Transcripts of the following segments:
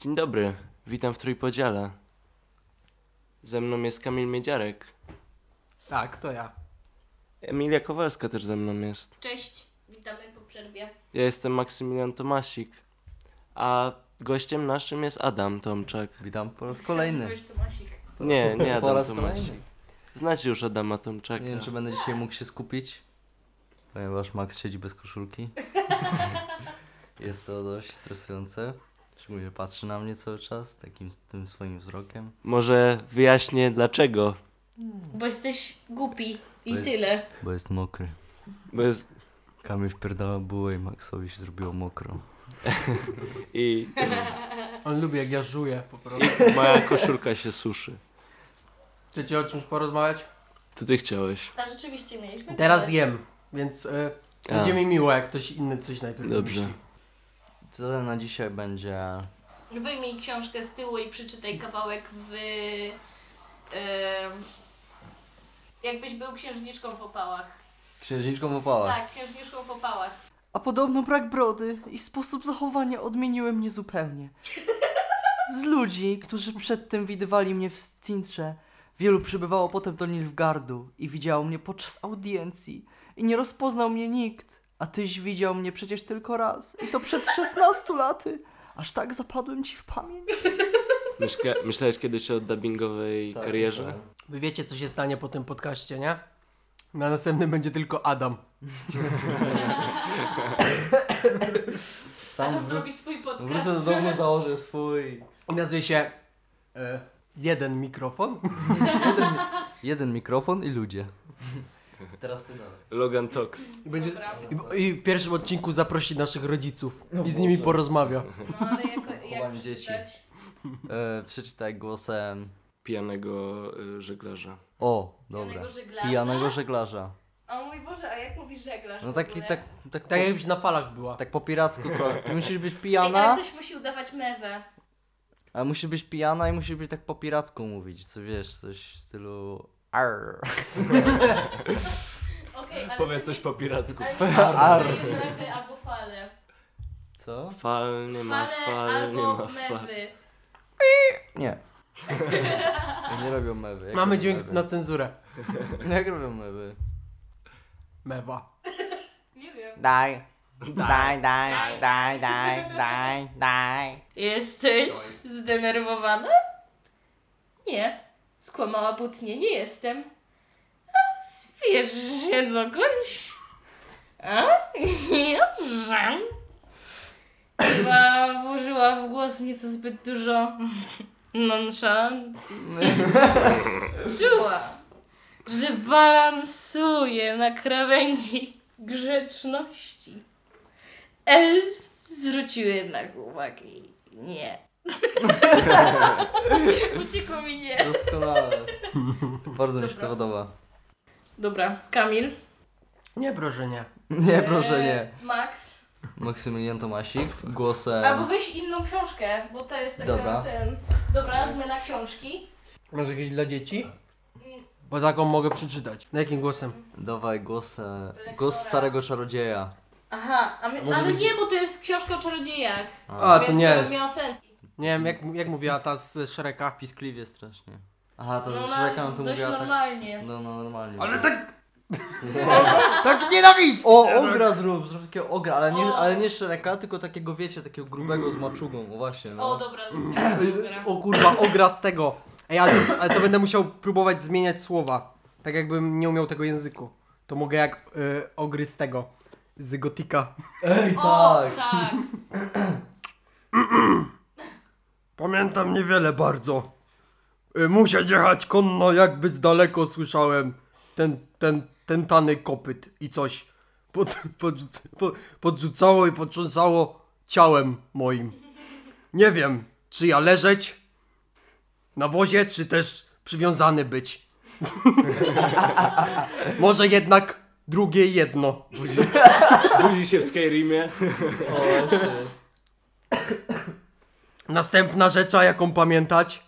Dzień dobry, witam w Trójpodziale. Ze mną jest Kamil Miedziarek. Tak, to ja. Emilia Kowalska też ze mną jest. Cześć, witamy po przerwie. Ja jestem Maksymilian Tomasik. A gościem naszym jest Adam Tomczak. Witam po raz kolejny. Cześć, Tomasik. Nie, nie po Adam raz Tomasik. kolejny. Znacie już Adama Tomczaka. Nie wiem, czy będę dzisiaj mógł się skupić, ponieważ Max siedzi bez koszulki. Jest to dość stresujące. Szczególnie patrzy na mnie cały czas takim tym swoim wzrokiem. Może wyjaśnię dlaczego. Bo jesteś głupi i Bo jest- tyle. Bo jest mokry. Bo jest... Kamil wpierdala bułę i Maxowi się zrobiło mokro. I On lubi jak ja żuję po prostu. I moja koszulka się suszy. Chcecie o czymś porozmawiać? To ty chciałeś. A rzeczywiście mieliśmy. Teraz gadać. jem, więc y, A. będzie mi miło, jak ktoś inny coś najpierw Dobrze. myśli. Co na dzisiaj będzie... Wyjmij książkę z tyłu i przeczytaj kawałek w. em, jakbyś był księżniczką w opałach. Księżniczką w opałach. Tak, księżniczką w opałach. A podobno brak brody i sposób zachowania odmieniły mnie zupełnie. Z ludzi, którzy przedtem widywali mnie w Cintrze, wielu przybywało potem do Nilfgardu i widziało mnie podczas audiencji i nie rozpoznał mnie nikt, a tyś widział mnie przecież tylko raz i to przed 16 laty. Aż tak zapadłem ci w pamięć. Myśla, myślałeś kiedyś o dubbingowej Tak, karierze? Wy wiecie, co się stanie po tym podcaście, nie? Na następnym będzie tylko Adam. A Sam tam wró- zrobi swój podcast. Wrócę do domu, założę swój... I nazwie się y, Jeden Mikrofon. Jeden mikrofon i ludzie. Teraz ty nawet. Logan Talks. I, będzie, Dobra. i, I w pierwszym odcinku zaprosi naszych rodziców No i z nimi porozmawia. No ale jako, jak Chowam dzieci. przeczytać? E, przeczytaj głosem... Pijanego y, żeglarza. O, Pijanego dobra. żeglarza? Pijanego żeglarza. O mój Boże, a jak mówisz żeglarz? No w taki, ogóle? tak, tak, Tak po, jakbyś na falach była. tak po piracku trochę. Ty musisz być Ej, ale pijana, ktoś musi udawać mewę. ale musisz być pijana i musisz być tak po piracku mówić, co wiesz, coś w stylu... Arr. Okej, ale. Powiedz to coś nie- po piracku. ale Ar. nie udaje mewy albo fale. Co? Fal nie ma, fal nie albo ma, fal. mewy. Nie. Ja nie robią mewy. Jak Mamy robią dźwięk mewy? na cenzurę. Jak robią mewy? Mewa. Nie wiem. Daj, daj, daj, daj, daj, daj, daj. Jesteś zdenerwowana? Nie. Skłamała butnie, nie jestem. A zbierz się do kogoś. A? Dobrze. Chyba włożyła w głos nieco zbyt dużo nonszalancji. Czuła, że balansuje na krawędzi grzeczności. El zwrócił jednak uwagę i nie. Uciekło mi nie. Doskonale. Bardzo mi się to Dobra. podoba. Dobra, Kamil. Nie, proszę, nie. Nie, proszę nie. E, Max. Maksymilian Tomasik Albo głosem... weź inną książkę, bo to jest taka E. Dobra. ten. Dobra, zmiana książki. Masz jakieś dla dzieci? Bo taką mogę przeczytać. Na jakim głosem? Dawaj głosem... Głos starego czarodzieja. Aha, a my, Może ale być- nie, bo to jest książka o czarodziejach. A, to więc nie. To miało sens. Nie wiem, jak, jak mówiła ta z Shreka. Piskliwie strasznie. Aha, to No, no, na- Shreka no to dość mówiła tak... normalnie. No, no, normalnie. Ale tak... tak nienawistnie! O, ogra zrób, zrób takiego ogra, ale nie, O. ale nie szereka, tylko takiego, wiecie, takiego grubego z maczugą, o właśnie, no. O, dobra, zrobiłam. O kurwa, ogra z tego. Ej, ale, ale to będę musiał próbować zmieniać słowa. Tak jakbym nie umiał tego języku. To mogę jak y, ogry z tego. Z gotika. Ej, O, tak! tak. Pamiętam niewiele bardzo. Y, musieć jechać konno, jakby z daleko słyszałem ten, ten, ten tany kopyt i coś. Pod, podrzuc, po, podrzucało i potrząsało ciałem moim. Nie wiem, czy ja leżeć na wozie, czy też przywiązany być. Może jednak drugie jedno. Budzi się w Skyrimie. O, ty. Następna rzecz, a jaką pamiętać,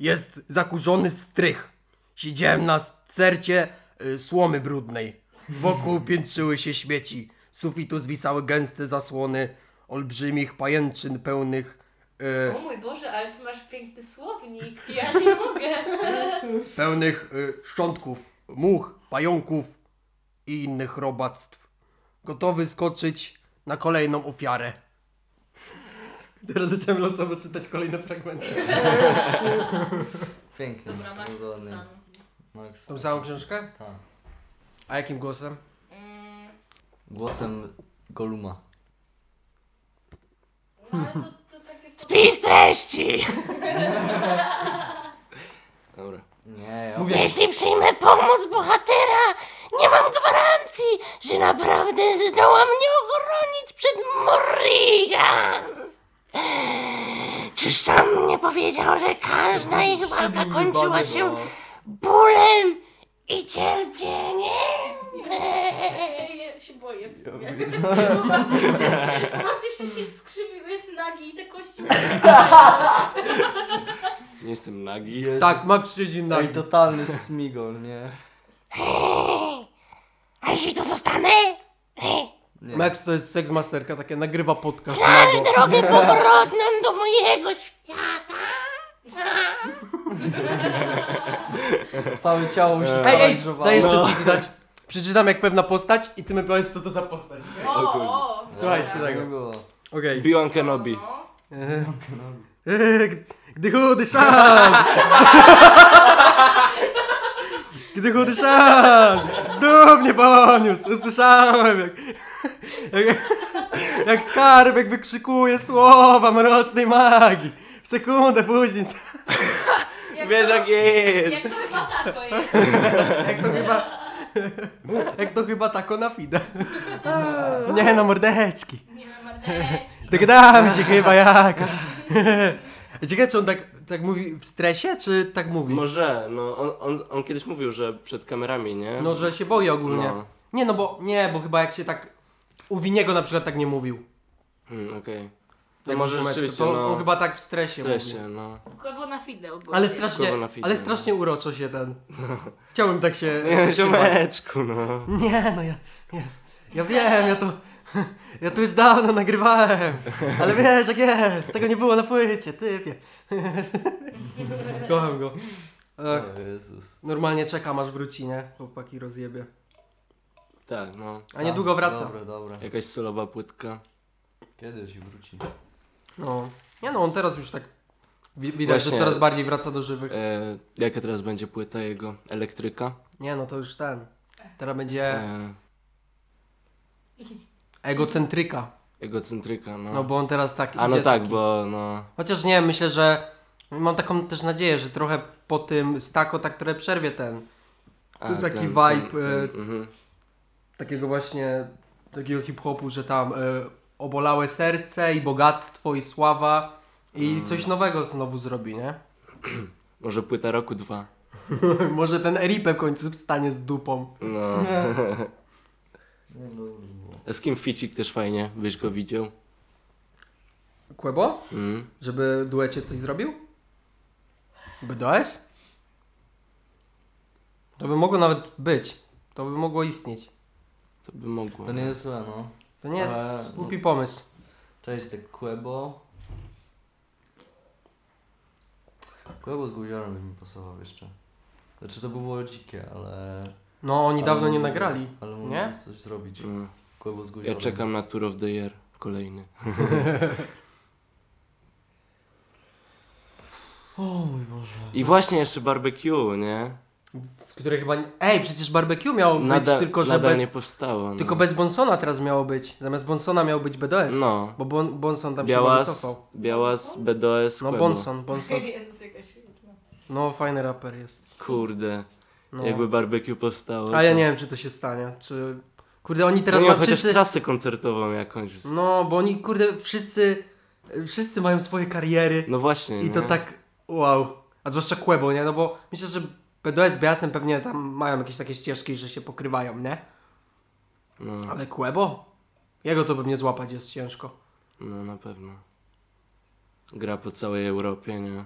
jest zakurzony strych. Siedziałem na stercie y, słomy brudnej. Wokół piętrzyły się śmieci. Z sufitu zwisały gęste zasłony olbrzymich pajęczyn pełnych e, O mój Boże, ale ty masz piękny słownik. Ja nie mogę. pełnych y, szczątków, much, pająków i innych robactw. Gotowy skoczyć na kolejną ofiarę. Teraz zacząłem losowo czytać kolejne fragmenty. Pięknie. Dobra, Max udolny. Susan. Max. Tą samą książkę? Tak. A jakim głosem? Mm, Głosem Goluma. no ale to, to takie... Spis treści! Dobra. Nie, ja Mówię- Jeśli przyjmę pomoc bohatera, nie mam gwarancji, że naprawdę zdoła mnie ochronić przed Morrigan. Czyż sam nie powiedział, że każda ich walka kończyła się bólem i cierpieniem? Ej, ja się boję w sumie. U was jeszcze- u was jeszcze się skrzywił, jest nagi i te kości... mu Nie jestem nagi. Tak, Max siedzi na... Ej, totalny smigol, nie? A jeśli to zostanę? nie. Max to jest seksmasterka, takie nagrywa podcast Znasz nago. drogę powrotną do mojego świata? Całe ciało mi się Ej, ej, sparaliżowało. daj jeszcze No. przeczytać. Przeczytam jak pewna postać i ty mi powiesz co to za postać. O, o. Słuchajcie Tak tego. było. Okej. Biłan Kenobi. No. Eee, Gdy chudy szan! Gdy chudy szan! Znów mnie poniósł! Usłyszałem jak, jak, jak skarbek wykrzykuje słowa mrocznej magii. W sekundę później no. Jak Wiesz to- jak jest! Jak to chyba tako jest. Jak to chyba. Jak to chyba tako na fida. Nie no, mordeczki. Nie wiem, mardeczki. Dogadałem się chyba jakoś. Ciekawe, czy on tak, tak mówi w stresie, czy tak mówi? Może, no on, on, on kiedyś mówił, że przed kamerami, nie? No, że się boi ogólnie. No. Nie, no bo nie, bo chyba jak się tak. U Winiego na przykład tak nie mówił. Hmm, okej. To Tak może Romeczko, rzeczywiście, to no. On chyba tak w w stresie, stresie, mówił. Tak, no. Albo na fidel. bo- Ale strasznie, Głowa na fidel. ale strasznie uroczo się ten. Chciałbym tak się. Nie, tak się bać. ziomeczku, no. Nie, no ja, ja, ja wiem, ja to, ja to już dawno nagrywałem, ale wiesz jak jest, tego nie było na płycie, typie. Kocham go. Ach, Tak. O Jezus. normalnie czekam aż wróci, nie? Chłopaki rozjebie. Tak, no. A niedługo wraca. Dobra, dobra. Jakaś sulowa płytka. Kiedyś wróci. No. Nie no, on teraz już tak wi- widać, Właśnie. że coraz bardziej wraca do żywych. E, jaka teraz będzie płyta jego? Elektryka? Nie no, to już ten. Teraz będzie E, egocentryka. egocentryka, no. No bo on teraz tak A no idzie tak, taki- bo no. Chociaż nie, myślę, że mam taką też nadzieję, że trochę po tym stako tak trochę przerwie ten. Tu taki vibe, e, mhm. Takiego właśnie, takiego hip-hopu, że tam e, obolałe serce i bogactwo i sława i Mm. coś nowego znowu zrobi, nie? Może płyta roku dwa. Może ten Eripe w końcu stanie z dupą. No. Nie, no. dobrze było. Z kim Ficik też fajnie, byś go widział. Kłebo? Mm. Żeby duecie coś zrobił? BDS? To by mogło nawet być. To by mogło istnieć. To by mogło. To nie jest złe, no. To nie jest Ale- no- głupi pomysł. Cześć, te Quebo. Quebo z guziorem by mi pasował jeszcze. Znaczy to by było dzikie, ale... No, oni ale dawno nie mógłbym- nagrali. Ale nie? mógłbym coś zrobić. Mm. Quebo z Ja guziorem. czekam na Tour of the Year kolejny. O mój Boże. I właśnie jeszcze barbecue, nie? W której chyba... nie- Ej, przecież barbecue miało być, Nada, tylko że nadal bez... nie powstało. No. Tylko bez Bonsona teraz miało być. Zamiast Bonsona miał być BDS. No. Bo bon, Bonson tam się chyba Białas, wycofał. Białas, BDOS, No, Quebo. Bonson, Bonson. Jezus, jakaś... No, fajny raper jest. Kurde, No. jakby barbecue powstało. A ja to- nie wiem, czy to się stanie. Czy... Kurde, oni teraz no na nie, chociaż wszyscy... trasę koncertową jakąś. z- No, bo oni, kurde, wszyscy... Wszyscy mają swoje kariery. No właśnie, I to nie? tak... Wow. A zwłaszcza Quebo, nie? No bo myślę, że BDS z Białasem pewnie tam mają jakieś takie ścieżki, że się pokrywają, nie? No, Ale Quebo? Jego to pewnie złapać jest ciężko. no na pewno. Gra po całej Europie, nie?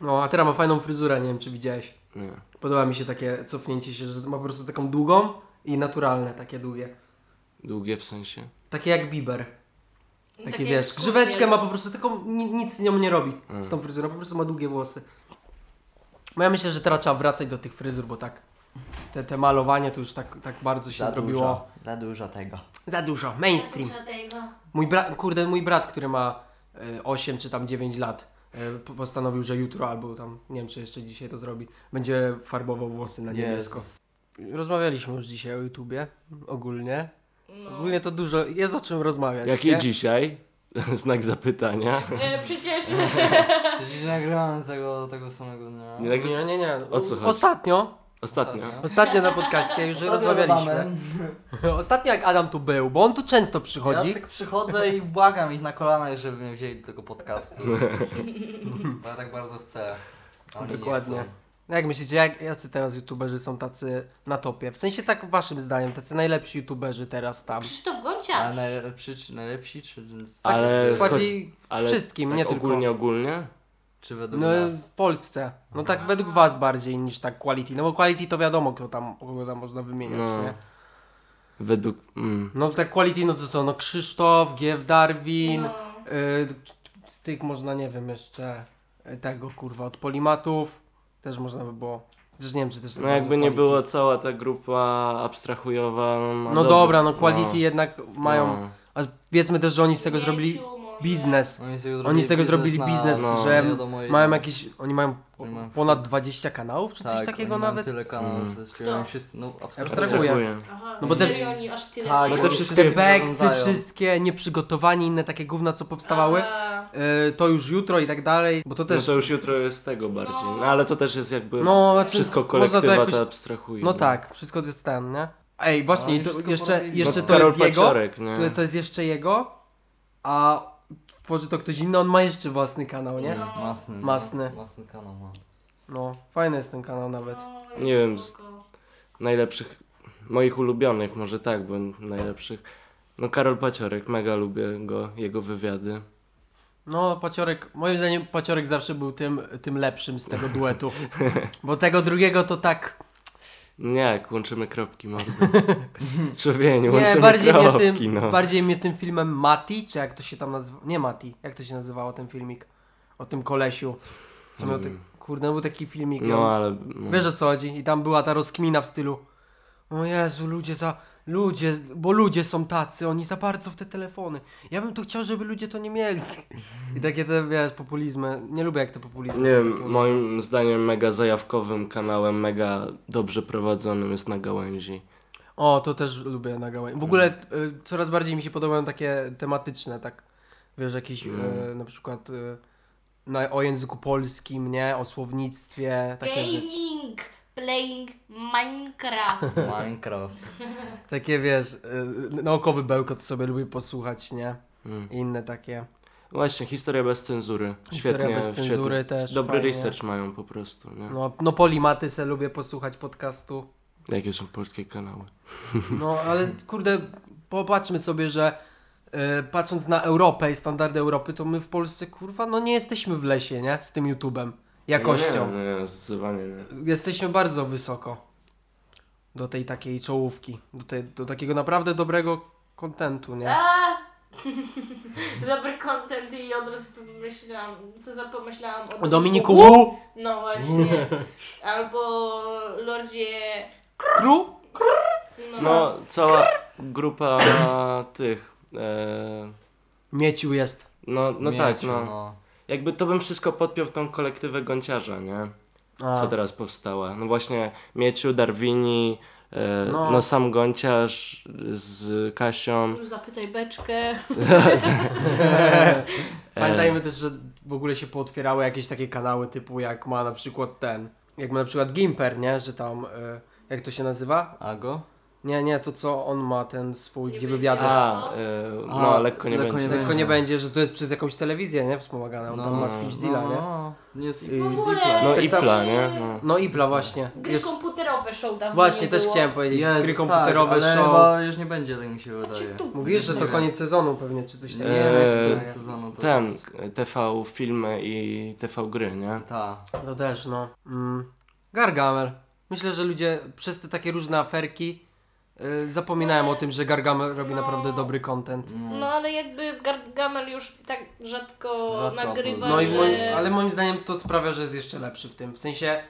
No, a teraz ma fajną fryzurę, nie wiem, czy widziałeś. Nie. Podoba mi się takie cofnięcie się, że ma po prostu taką długą i naturalne, takie długie. Długie w sensie. Takie jak Bieber. Takie, wiesz, grzyweczkę ma po prostu, tylko ni- nic z nią nie robi Mm. z tą fryzurą, po prostu ma długie włosy. No ja myślę, że teraz trzeba wracać do tych fryzur, bo tak te, te malowanie to już tak, tak bardzo się zrobiło. za dużo tego. Za dużo, mainstream. tego. Mój bra- kurde, mój brat, który ma e, 8 czy tam 9 lat, e, po- postanowił, że jutro albo tam, nie wiem czy jeszcze dzisiaj to zrobi, będzie farbował włosy na niebiesko. Rozmawialiśmy już dzisiaj o YouTubie, ogólnie. No. Ogólnie to dużo, jest o czym rozmawiać. Jakie nie? dzisiaj? Znak zapytania. E, przecież Przecież nagrałem tego, tego samego dnia. Nie, tak, Nie, nie, nie. O co chodzi? Ostatnio, ostatnio. ostatnio na podcaście już rozmawialiśmy. Ostatnio jak Adam tu był, bo on tu często Ja przychodzi. tak przychodzę i błagam ich na kolanach, żeby mnie wzięli do tego podcastu. Bo ja tak bardzo chcę. a oni nie Dokładnie. chcą. Jak myślicie, jak, jacy teraz youtuberzy są tacy na topie? W sensie tak waszym zdaniem, tacy najlepsi youtuberzy teraz tam. Krzysztof A Gonciarz. najlepsi, czy najlepsi, czy, Tak Ale bardziej ale wszystkim, tak nie tylko. ogólnie, ogólnie? czy według No nas? w Polsce. No tak według was bardziej niż tak quality. No bo quality to wiadomo, kto tam, kogo tam można wymieniać, No. nie? Według... Mm. No tak quality, no to co? No Krzysztof, Giew Darwin, y, z tych można, nie wiem, jeszcze y, tego kurwa od Polimatów. Też można by było. Też nie wiem, czy też... tak No bardzo jakby nie quality. było cała ta grupa abstrahujowa... No, ma No dobry- dobra, no quality jednak mają... no. A wiedzmy też, że oni z tego zrobili Mieciu może. biznes. Oni z tego Oni z tego zrobili biznes, no, że nie wiadomo ile. mają jakieś... Oni mają Oni mają- ponad 20 kanałów, czy tak, coś takiego oni mają nawet? tyle kanałów, Mm. że ściągają wszyscy, no Abstrahuję. abstrahuję. Abstrahuję. Aha, No bo te- serio, oni aż tyle Tak, No mają? te Te wszystkie... beksy wyglądają. wszystkie, nieprzygotowanie, inne takie gówna, co powstawały. A, Y, to już jutro i tak dalej, bo to No też... to już jutro jest tego bardziej. No ale to też jest jakby... No, znaczy, Wszystko można to kolektywa jakoś... to abstrahuje. No tak, wszystko to jest ten, nie? Ej, właśnie, Oni i to wszystko jeszcze, porobili. jeszcze no, to Karol jest jego, Paciorek, nie? to, to jest jeszcze jego, a tworzy to ktoś inny, on ma jeszcze własny kanał, nie? No, Masny. no, Masny. Masny kanał ma. No, fajny jest ten kanał nawet. no, Nie wiem, z- spoko. najlepszych, moich ulubionych, może tak, bo najlepszych. No Karol Paciorek, mega lubię go, jego wywiady. No, Paciorek, moim zdaniem Paciorek zawsze był tym, tym lepszym z tego duetu, bo tego drugiego to tak... No Nie, jak łączymy kropki, mordo. Człowieniu, Nie, łączymy bardziej mnie, kropki, tym, no. bardziej mnie tym filmem Mati, czy jak to się tam nazywa? Nie Mati, jak to się nazywało ten filmik? O tym kolesiu. Co miał ten, kurde, był taki filmik. No No, ale... No. Wiesz o co chodzi? I tam była ta rozkmina w stylu O Jezu, ludzie za... Ludzie, bo ludzie są tacy, oni za bardzo w te telefony. Ja bym tu chciał, żeby ludzie to nie mieli. I takie te, wiesz, populizmy. Nie lubię jak te populizmy no. Nie są wiem, takie- moim zdaniem mega zajawkowym kanałem, mega dobrze prowadzonym jest na gałęzi. O, to też lubię na gałęzi. W ogóle y, coraz bardziej mi się podobają takie tematyczne, tak, wiesz, jakieś Mm. y, na przykład y, na, o języku polskim, nie, o słownictwie, takie rzeczy. Gaming, playing Minecraft. Minecraft. Takie, wiesz, y, naukowy bełkot sobie lubię posłuchać, nie, Mm. I inne takie. Właśnie, historia bez cenzury. Historia świetnie, bez cenzury świetnie. też, Dobry fajnie. research mają po prostu, nie? No, no polimaty se lubię posłuchać podcastu. Jakie są polskie kanały? No, ale kurde, popatrzmy sobie, że y, patrząc na Europę i standardy Europy, to my w Polsce, kurwa, no nie jesteśmy w lesie, nie, z tym YouTubem, jakością. No nie, nie, zdecydowanie nie. jesteśmy bardzo wysoko do tej takiej czołówki, do, tej, do takiego naprawdę dobrego kontentu, nie? A! Dobry content i od razu pomyślałam, co za pomyślałam O Dominiku Wu, No właśnie. Albo Lordzie... Kru, No, cała grupa tych. E, Miecił jest. no, no Mieciu, tak, no. Jakby to bym wszystko podpiął w tą kolektywę gąciarza, nie? A, Co teraz powstała? No właśnie Mieciu, Darwini, e, No. no. sam gąciarz z Kasią. Już zapytaj beczkę. Pamiętajmy E. też, że w ogóle się pootwierały jakieś takie kanały typu jak ma na przykład ten, jak ma na przykład Gimper, nie? Że tam, y, jak to się nazywa? Ago? Nie, nie, to co on ma ten swój, Nie gdzie będzie. wywiady. A, e, no A, lekko nie lekko będzie. nie Tylko nie będzie, że to jest przez jakąś telewizję, nie? Wspomagane, on tam ma z kimś deala, no, nie? no. Nie jest I- W i... ogóle... No Tak i samo- pla, nie? No. No Ipla właśnie. Gry Jeszcze- komputerowe show dawno Właśnie, nie też było. chciałem powiedzieć, Jezus, gry No, komputerowe tak, ale show. chyba już nie będzie, tak mi się wydaje. Tu- Mówisz, że to koniec sezonu pewnie, czy coś Nie, takiego. Eee, koniec sezonu to Ten, jest- TV filmy i TV gry, nie? Ta. To też, no. Mm. Gargamel. Myślę, że ludzie przez te takie różne aferki, y, E, Zapominałem o tym, że Gargamel robi naprawdę dobry content. No ale jakby Gargamel już tak rzadko Rzadko nagrywa, No i że... moim, ale moim zdaniem to sprawia, że jest jeszcze lepszy w tym. W sensie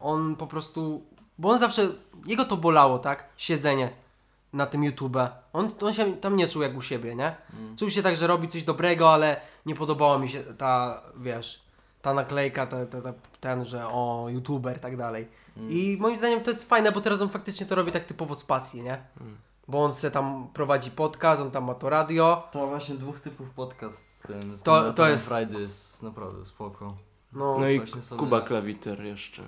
on po prostu. Bo on zawsze. Jego to bolało, tak? Siedzenie na tym YouTube. On, on się tam nie czuł jak u siebie, nie? Czuł się tak, że robi coś dobrego, ale nie podobała mi się ta, wiesz, ta naklejka, ta, ta, ta, ten, że o, YouTuber, tak dalej. I moim zdaniem to jest fajne, bo teraz on faktycznie to robi tak typowo z pasji, nie? Bo on se tam prowadzi podcast, on tam ma to radio. To właśnie dwóch typów podcast z tym. Z To- tym to jest- Friday jest naprawdę spoko. No, No i właśnie sobie- Kuba Klawiter jeszcze.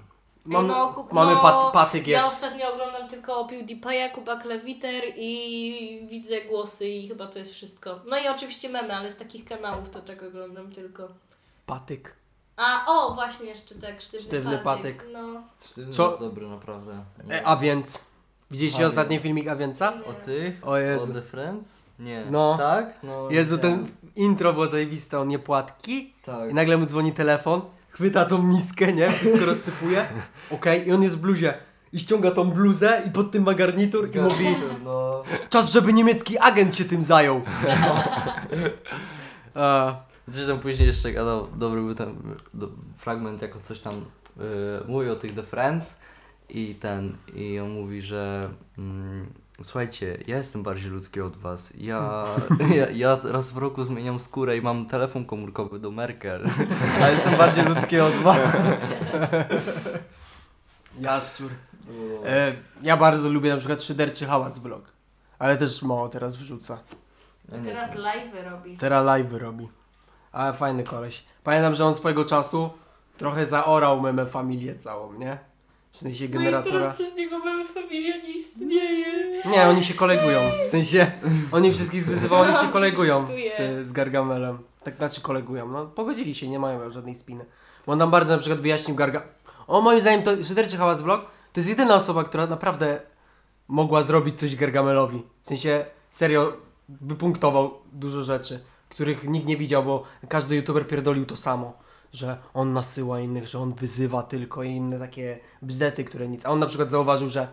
mam, no, kup- mamy no, pat, patyk Tak jest. Ja ostatnio oglądam tylko PewDiePie'a, Kuba Klewiter i widzę głosy i chyba to jest wszystko. No i oczywiście memy, ale z takich kanałów to tak oglądam tylko. Patyk. A o, właśnie jeszcze tak, sztywny, Sztywny patyk. patyk. No. Sztywny Co- jest dobry, naprawdę. E, a więc. Widzieliście A ostatni więc. filmik A więca? O tych? O Jezu. O The Friends? Nie. No. Tak? No, Jezu, widziałem. ten intro było zajebiste, on nie płatki. Tak. I nagle mu dzwoni telefon, chwyta tą miskę, nie? Wszystko rozsypuje. Okej, i on jest w bluzie. I ściąga tą bluzę i pod tym ma garnitur Tak. i mówi No, Czas, żeby niemiecki agent się tym zajął. E, Zresztą później jeszcze gadał, dobry był ten do, fragment, jako coś tam yy, mówi o tych The Friends i ten, i on mówi, że mm, słuchajcie, ja jestem bardziej ludzki od was, ja, ja, ja raz w roku zmieniam skórę i mam telefon komórkowy do Merkel, a jestem bardziej ludzki od was. Jaszczur. E, ja bardzo lubię na przykład szyderczy hałas vlog. Ale też mało teraz wrzuca. Ja No nie Teraz wiem. live robi. Teraz live robi. Ale fajny koleś. Pamiętam, że on swojego czasu trochę zaorał meme familię całą, nie? W sensie No i generatora. teraz przez niego mamy familia nie istnieje. Nie, oni się kolegują. W sensie oni wszystkich wyzywają, oni się No, kolegują żartuję. z, z Gargamelem. Tak znaczy kolegują. No, pogodzili się, nie mają żadnej spiny. Bo on nam bardzo na przykład wyjaśnił Garga. O moim zdaniem to Szyderczy Hałas Vlog to jest jedyna osoba, która naprawdę mogła zrobić coś Gargamelowi. W sensie serio wypunktował dużo rzeczy, których nikt nie widział, bo każdy youtuber pierdolił to samo. Że on nasyła innych, że on wyzywa tylko i inne takie bzdety, które nic. A on na przykład zauważył, że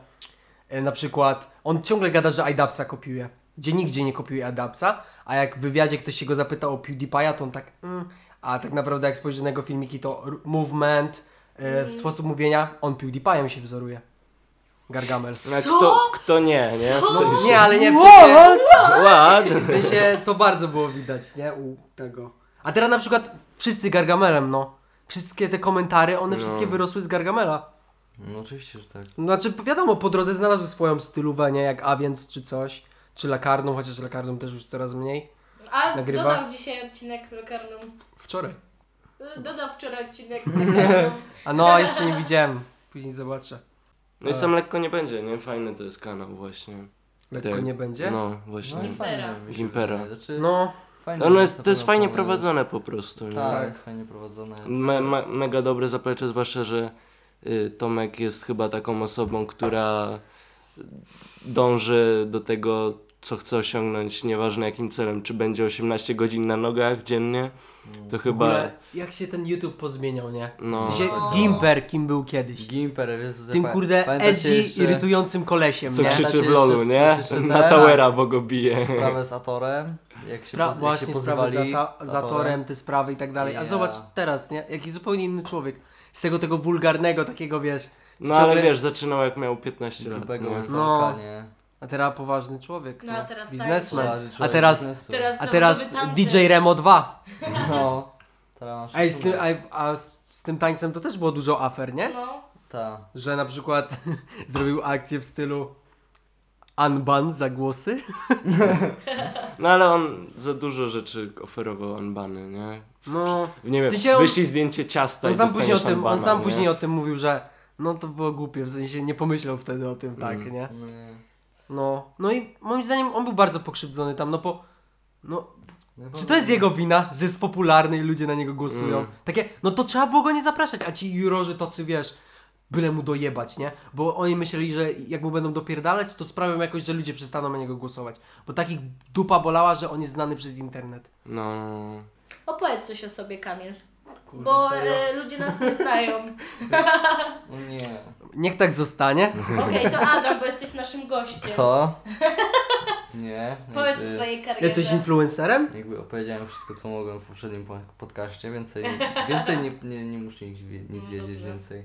E, Na przykład on ciągle gada, że iDubsa kopiuje. Gdzie nigdzie nie kopiuje iDubsa, a jak w wywiadzie ktoś się go zapytał o PewDiePie'a, to on tak mm, a tak naprawdę jak spojrzy na jego filmiki, to r- movement, e, sposób mówienia, on PewDiePie'em się wzoruje. Gargamel. No, a Kto, kto nie, nie? W sensie, Nie, ale nie w sensie, Ład! w sensie to bardzo było widać, nie? U tego. A teraz na przykład wszyscy Gargamelem, no. Wszystkie te komentary, one No. wszystkie wyrosły z Gargamela. No oczywiście, że tak. Znaczy, wiadomo, po drodze znalazły swoją stylówę, nie? Jak Awiens czy coś, czy Lakarną, chociaż Lakarną też już coraz mniej. A Nagrywa? dodał dzisiaj odcinek lekarną. Wczoraj. Dodał wczoraj odcinek lekarną. A no, jeszcze nie widziałem. Później zobaczę. No i sam lekko nie będzie, nie? Fajny to jest kanał właśnie. Lekko Tak. nie będzie? No. No, właśnie. i fajnie mi się Gimpera. wydaje, znaczy, fajnie No, no na jest, to jest pewno fajnie pomysł. prowadzone po prostu, nie? Tak, jest fajnie prowadzone. Me, me, mega dobre zaplecze, zwłaszcza, że y, Tomek jest chyba taką osobą, która dąży do tego, co chce osiągnąć, nieważne jakim celem, czy będzie 18 godzin na nogach dziennie, to W chyba... ogóle, jak się ten YouTube pozmieniał, nie? No. W sensie No. Gimper kim był kiedyś. Gimper, Jezu, Tym pa- kurde pamiętacie edgy, jeszcze- irytującym kolesiem, Co nie? znaczy krzy- krzyczy w Jeszcze- lolu, nie? jeszcze ten- Na Towera, bo go bije. sprawę z Atorem, jak się, Pra- poz- jak się właśnie sprawy pozywali za, ta- za torem, te sprawy i tak dalej. A Ja. zobacz teraz, nie? Jaki zupełnie inny człowiek. Z tego tego wulgarnego takiego, wiesz... No ale ciągle- wiesz, zaczynał jak miał 15 lat. grubego nie? łysoka, No. nie? A teraz poważny człowiek, No, nie? a teraz tak. biznesmen. Człowiek A teraz, biznesu. Teraz a teraz zawodowy tancerz. DJ Remo 2. No, teraz masz Ej, z tym, sztukę. a, a z, z tym tańcem to też było dużo afer, nie? No. Ta. Że na przykład zrobił akcję w stylu Unban za głosy. No ale on za dużo rzeczy oferował Anbany, nie? No, Nie W wiem, sensie on- wyślij zdjęcie ciasta on i sam, później o, dostaniesz tym, on Anbana, sam nie? później o tym mówił, że no to było głupie, w sensie nie pomyślał wtedy o tym tak, nie? Nie. No, no i moim zdaniem on był bardzo pokrzywdzony tam, no bo no, No, Czy to jest jego wina, że jest popularny i ludzie na niego głosują? Mm. Takie, no to trzeba było go nie zapraszać, a ci jurorzy tacy, wiesz, byle mu dojebać, nie? Bo oni myśleli, że jak mu będą dopierdalać, to sprawią jakoś, że ludzie przestaną na niego głosować. Bo takich dupa bolała, że on jest znany przez internet. No... Opowiedz coś o sobie, Kamil. Kurwa, Bo serio? e, ludzie nas nie znają. O no nie. Niech tak zostanie. Okej, to Adam, bo jesteś naszym gościem. Co? Nie. Powiedz o jakby- swojej karierze. Y, tak. Jesteś influencerem? Jakby opowiedziałem wszystko, co mogłem w poprzednim po- podcaście, więcej, więcej nie, nie, nie muszę nic, wie- nic wiedzieć, No Dobra. więcej.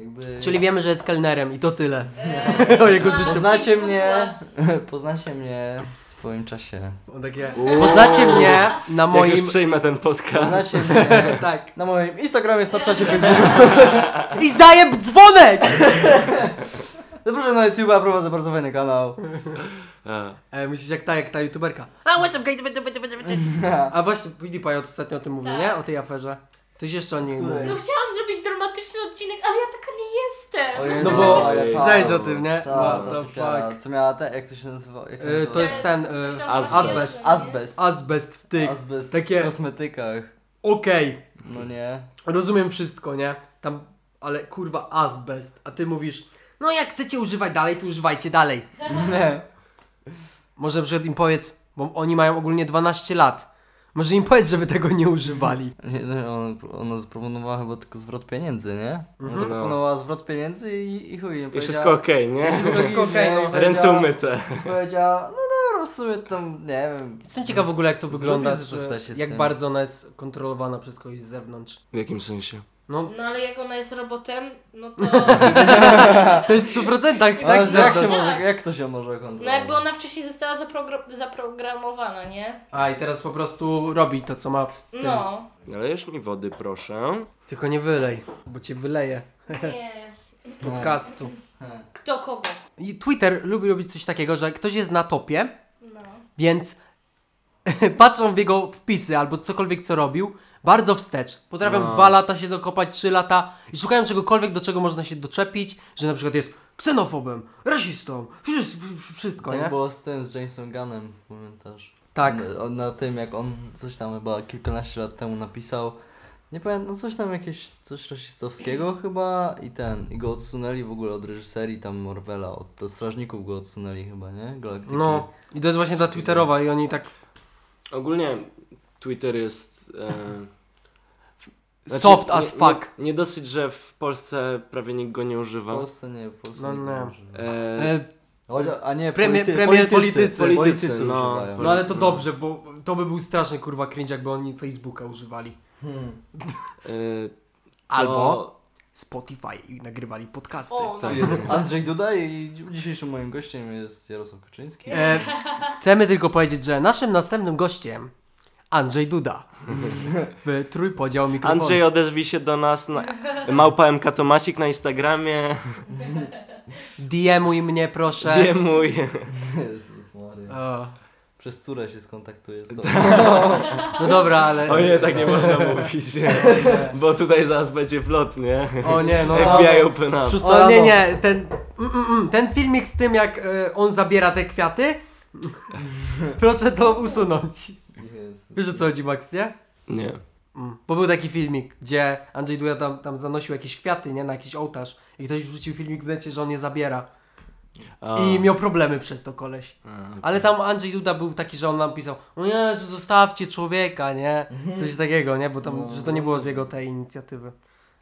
Jakby... Czyli wiemy, że jest kelnerem i to tyle. Eee, O jego mam życiu. Poznacie Facebook mnie, Watch. poznacie mnie w swoim czasie. On takie, poznacie mnie na Moim... Jak już moim... przejmę ten podcast. Poznacie mnie Tak. na moim Instagramie, Snapchacie, Facebooku. I zdaję dzwonek! Zapraszam na YouTube'a, prowadzę bardzo fajny kanał. A, E, musisz jak ta, jak ta youtuberka. A, what's up, guys? A właśnie, PewDiePie ostatnio o tym mówił, Tak. nie? O tej aferze. Ktoś jeszcze o niej mówił. No chciałam zrobić dramatyczny odcinek, ale ja taka nie jestem. Jezu, No bo ale co? słyszałeś o tym, nie? Ta, What ta the typiara, fuck. Co miała te, jak to się nazywa? Jak się E, nazywa? to jest ten, Coś e, tam azbest. faktycznie, nie? Azbest. Azbest w tych. Azbest takie- w kosmetykach. Okej, No nie. rozumiem wszystko, nie? Tam, ale kurwa, azbest. A ty mówisz, no jak chcecie używać dalej, to używajcie dalej. Nie. Może przed im powiedz, bo oni mają ogólnie 12 lat. Może im powiedz, żeby tego nie używali. Nie, no, ona, ona zaproponowała chyba tylko zwrot pieniędzy, nie? Ona No. Mhm. zaproponowała zwrot pieniędzy i, i chuj. nie I powiedziała- wszystko okej, nie? Wszystko okej, no. Powiedziała- Ręce umyte. Powiedziała, no dobra, w sumie tam, nie wiem. Jestem ciekaw w ogóle, jak to wygląda, co że- chce się z jak tym. bardzo ona jest kontrolowana przez kogoś z zewnątrz. W jakim sensie? No, No ale jak ona jest robotem, no to... to jest w 100% tak, Ale tak jak, się zewnątrz. może, jak to się może No jakby kontrolować? ona wcześniej została zaprogro- zaprogramowana, nie? A i teraz po prostu robi to, co ma w tym. No. Nalejesz mi wody, proszę. Tylko nie wylej, bo cię wyleje Nie. z podcastu. Kto kogo? I Twitter lubi robić coś takiego, że ktoś jest na topie, No. więc patrzą w jego wpisy albo cokolwiek, co robił, bardzo wstecz. Potrafią No. dwa lata się dokopać, trzy lata i szukają czegokolwiek, do czego można się doczepić, że na przykład jest ksenofobem, rasistą, wszystko, wszystko Tak nie? było z tym, z Jamesem Gunnem, pamiętasz? Tak. Na, na tym, jak on coś tam chyba kilkanaście lat temu napisał. Nie pamiętam, no coś tam jakieś, coś rasistowskiego chyba i ten, i go odsunęli w ogóle od reżyserii tam Marvela, od do strażników go odsunęli chyba, nie? Galaktyki. No i to jest właśnie ta Twitterowa i oni tak Ogólnie Twitter jest... E... znaczy, soft nie- as fuck. Nie, nie dosyć, że w Polsce prawie nikt go nie W używa. Polsce nie, w Polsce No nie. nie. używa. E... E, Chodzi o- A nie, Premier- polity- premier politycy. politycy, Politycy, no. używają. No ale to dobrze, bo to by był straszny kurwa cringe, jakby oni Facebooka używali. Hmm. E... Albo To... Spotify i nagrywali podcasty. O, no. Tak. Andrzej Duda i dzisiejszym moim gościem jest Jarosław Kaczyński. E, chcemy tylko powiedzieć, że naszym następnym gościem Andrzej Duda. W trójpodział mikrofonu. Andrzej odezwij się do nas na małpa MK Tomasik na Instagramie. DM-uj mnie proszę. Gdzie mój? Jezus Maria. O, Przez córę się skontaktuję z tobą. no dobra, ale... O nie, tak nie można mówić. Bo tutaj zaraz będzie plot, nie? O nie, no... FBI open up. Szósta O nie, rano. nie, ten... Mm, mm, mm, ten filmik z tym, jak e, on zabiera te kwiaty, proszę to usunąć. Jezus. Wiesz o co chodzi, Max, nie? Nie. Mm. Bo był taki filmik, gdzie Andrzej Duda tam, tam zanosił jakieś kwiaty, nie? Na jakiś ołtarz. I ktoś wrzucił filmik w necie, że on je zabiera. A. I miał problemy przez to koleś. A. Ale tam Andrzej Duda był taki, że on nam pisał O Jezu, zostawcie człowieka, nie? Mhm. Coś takiego, nie? Bo No, tam, że to nie było z jego tej inicjatywy.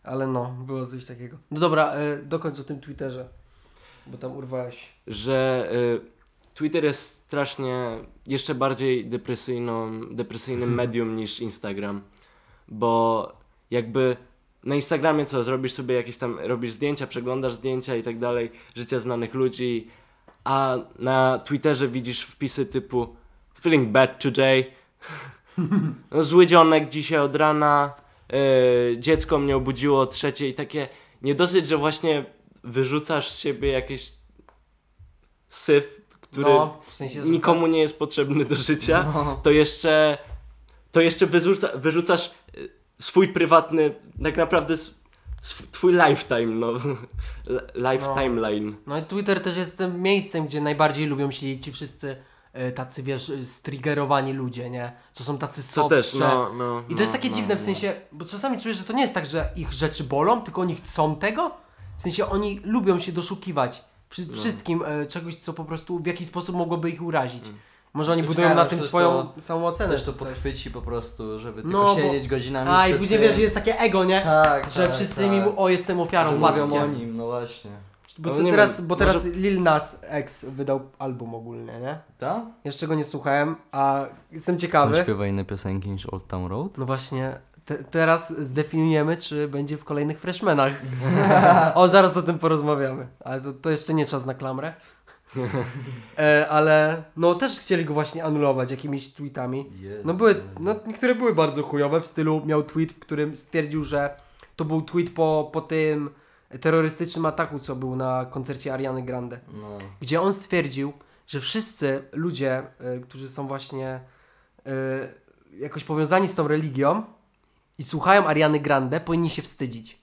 Ale no, było coś takiego. No dobra, y, dokończ o tym Twitterze. Bo tam urwałeś. że y, Twitter jest strasznie jeszcze bardziej depresyjną, depresyjnym medium niż Instagram, bo jakby na Instagramie co, zrobisz sobie jakieś tam, robisz zdjęcia, przeglądasz zdjęcia i tak dalej, życia znanych ludzi, a na Twitterze widzisz wpisy typu feeling bad today, no, zły dzionek dzisiaj od rana, y, dziecko mnie obudziło o trzeciej i takie, nie dosyć, że właśnie wyrzucasz z siebie jakieś syf, który No, w sensie... że- nikomu nie jest potrzebny do życia, No. to jeszcze to jeszcze wyrzuca, wyrzucasz y, swój prywatny, tak naprawdę s- sw, twój lifetime, no. Li- Lifetime line. No i Twitter też jest tym miejscem, gdzie najbardziej lubią siedzieć ci wszyscy y, tacy, wiesz, y, striggerowani ludzie, nie? Co są tacy Co soft, też, no, no. I to jest no, takie no, dziwne w no. sensie, bo czasami czujesz, że to nie jest tak, że ich rzeczy bolą, tylko oni chcą tego. W sensie oni No. Mm. lubią się doszukiwać przy wszystkim e, czegoś, co po prostu w jakiś sposób mogłoby ich urazić. Może oni No budują ciekawe, na tym przecież swoją samocenę. Też czy to coś. podchwyci po prostu, żeby No, bo- tylko siedzieć godzinami A i przed później tym. wiesz, jest takie ego, nie? Tak, Że tak, wszyscy tak. mi mu, o jestem Że ofiarą, mówią o patrzcie. nim, no właśnie. Bo No co nie teraz, wiem, bo teraz Lil Nas X wydał album ogólnie, nie? Tak? Jeszcze go nie słuchałem, a jestem ciekawy. śpiewa inne piosenki niż Old Town Road? No właśnie, te, teraz zdefiniujemy, czy będzie w kolejnych freshmenach. o, zaraz o tym porozmawiamy, ale to, to jeszcze nie czas na klamrę. e, ale no też chcieli go właśnie anulować jakimiś tweetami. No były, no niektóre były bardzo chujowe, w stylu miał tweet, w którym stwierdził, że to był tweet po, po tym terrorystycznym ataku, co był na koncercie Ariany Grande No. gdzie on stwierdził, że wszyscy ludzie, y, którzy są właśnie y, jakoś powiązani z tą religią i słuchają Ariany Grande, powinni się wstydzić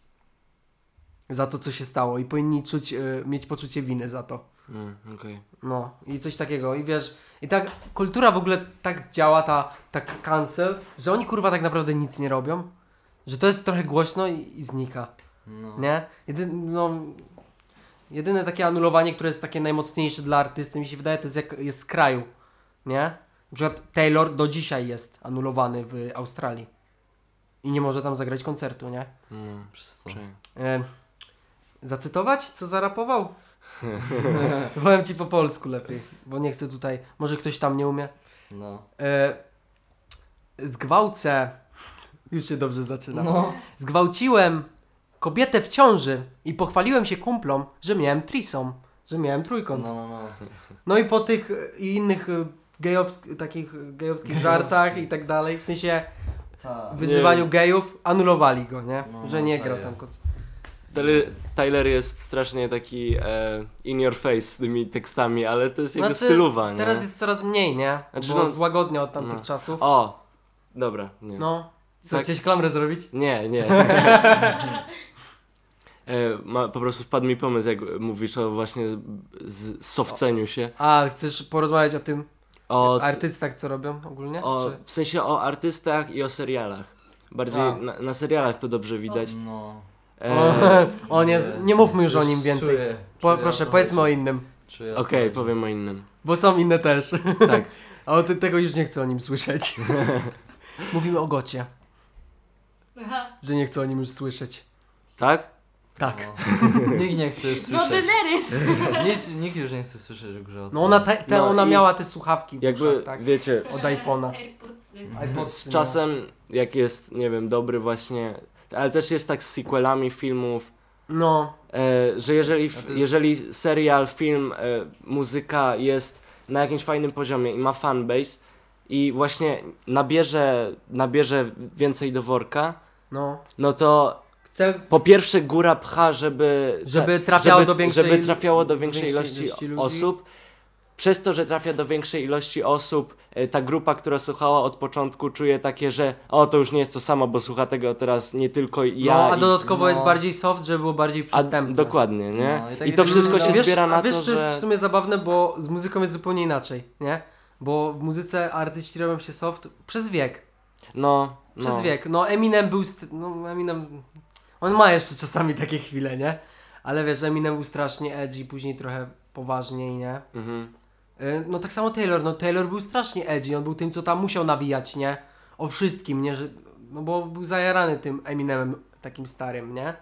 za to, co się stało i powinni czuć, y, mieć poczucie winy za to. Mm, okej. No i coś takiego i wiesz, i tak kultura w ogóle tak działa, ta, ta k- cancel, że oni kurwa tak naprawdę nic nie robią, że to jest trochę głośno i, i znika. No. Nie? Jedyn, no, jedyne takie anulowanie, które jest takie najmocniejsze dla artysty, mi się wydaje, to jest jak jest z kraju. Nie? Na przykład Taylor do dzisiaj jest anulowany w Australii. I nie może tam zagrać koncertu, nie? No, Przez co? czekaj. E, zacytować, co zarapował? Powiem ci po polsku lepiej, bo nie chcę tutaj. Może ktoś tam nie umie. No. E, zgwałcę. Już się dobrze zaczyna. No. Zgwałciłem kobietę w ciąży i pochwaliłem się kumplom, że miałem trisom, że miałem No, trójkąt. No, no, no. i po tych e, i innych e, gejowsk- takich e, gejowskich żartach i tak dalej, w sensie Tak. wyzywaniu gejów, anulowali go, nie? No, że nie no, grał tak tam jest. kot. Tyler, Tyler jest strasznie taki e, in your face z tymi tekstami, ale to jest jego Znaczy, stylowa, nie? Teraz jest coraz mniej, nie? No. Znaczy, Bo no- złagodnia od tamtych no. czasów. O! Dobra, nie. No. Co, Tak. chciałeś klamrę zrobić? Nie, nie. e, ma, po prostu wpadł mi pomysł, jak mówisz o właśnie z, sofceniu się. A, chcesz porozmawiać o tym O, artystach, co robią ogólnie? o, Czy... w sensie o artystach i o serialach. A. Bardziej na, na serialach to dobrze widać. No. E, o nie, z- nie mówmy już o nim więcej. Czuję, Po, czuję, proszę, to powiedzmy o chodzi. innym. Czuję, to Okej, chodzi. powiem o innym. Bo są inne też. Tak. A o tym, tego już nie chcę o nim słyszeć. Mówimy o Gocie, no, Aha. że nie chcę o nim już słyszeć. Tak? Tak. No. Nikt nie chce już No słyszeć. Daenerys! Nic, nikt już nie chce słyszeć o grze o No ona, tak. te, te, No ona i- miała te słuchawki w Jakby, uszach, tak? wiecie, Od iPhone'a. AirPodsy. iPodsy, z no. czasem, jak jest, nie wiem, dobry właśnie, ale też jest tak z sequelami filmów, No, e, że jeżeli, A f, to jest- jeżeli serial, film, e, muzyka jest na jakimś fajnym poziomie i ma fanbase i właśnie nabierze, nabierze więcej do worka, no. no to Chcę, po pierwsze góra pcha, żeby... ta- żeby trafiało Tak. żeby, do większej... żeby trafiało do do większej, większej ilości, ilości ludzi. osób. Przez to, że trafia do większej ilości osób, e, ta grupa, która słuchała od początku, czuje takie, że o, to już nie jest to samo, bo słucha tego teraz nie tylko ja. no, a i- dodatkowo no. jest bardziej soft, żeby było bardziej a przystępne. dokładnie, nie? No, i i, tak to jakby- wszystko no, się wiesz, zbiera a na wiesz, to, to jest w że... sumie zabawne, bo z muzyką jest zupełnie inaczej, nie? Bo w muzyce artyści robią się soft przez wiek. No, no. Przez wiek. No Eminem był... St- no Eminem... On ma jeszcze czasami takie chwile, nie? Ale wiesz, Eminem był strasznie edgy, później trochę poważniej, nie? Mhm. Y, No tak samo Taylor. No Taylor był strasznie edgy. On był tym, co tam musiał nawijać, nie? O wszystkim, nie? Że, no bo był zajarany tym Eminemem takim starym, nie?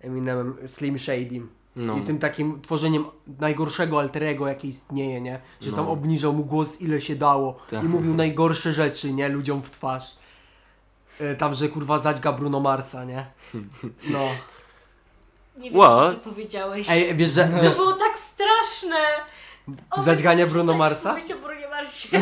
Eminemem Slim Shadym. No. I tym takim tworzeniem najgorszego alterego, jakie istnieje, nie? Że tam No. obniżał mu głos ile się dało Tak. i mówił najgorsze rzeczy, nie? Ludziom w twarz. E, tam, że kurwa zaćga Bruno Marsa, nie? No. Nie wiem, What? co ty powiedziałeś. Ej, wiesz, że... To Wiesz, było tak straszne! O, Zadźganie przestań Bruno Marsa? mówić o Bruno Marsie.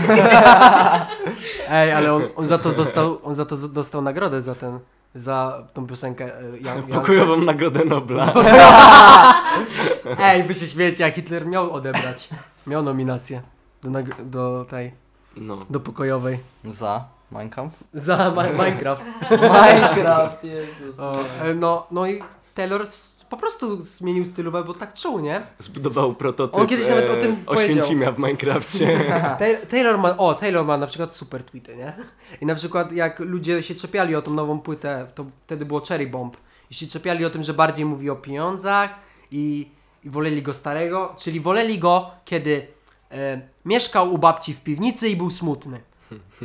ej, ale on, on za to dostał, on za to z- dostał nagrodę za ten, za tą piosenkę e, Young, Young Pokojową nagrodę Nobla. No. Ej, wy się śmiecie, a Hitler miał odebrać. Miał nominację do, nag- do tej, No. do pokojowej. Za Mein Kampf? Za Mi- Minecraft. Minecraft, Jezus. O, e, no, no i Taylor s- po prostu zmienił stylówę, bo tak czuł, nie? Zbudował prototyp e, On kiedyś nawet o tym powiedział. Oświęcimia w Minecrafcie. Ta- Taylor ma, o, Taylor ma na przykład super tweety, nie? I na przykład jak ludzie się czepiali o tą nową płytę, to wtedy było Cherry Bomb. I się czepiali o tym, że bardziej mówi o pieniądzach i, i woleli go starego, czyli woleli go, kiedy e, mieszkał u babci w piwnicy i był smutny.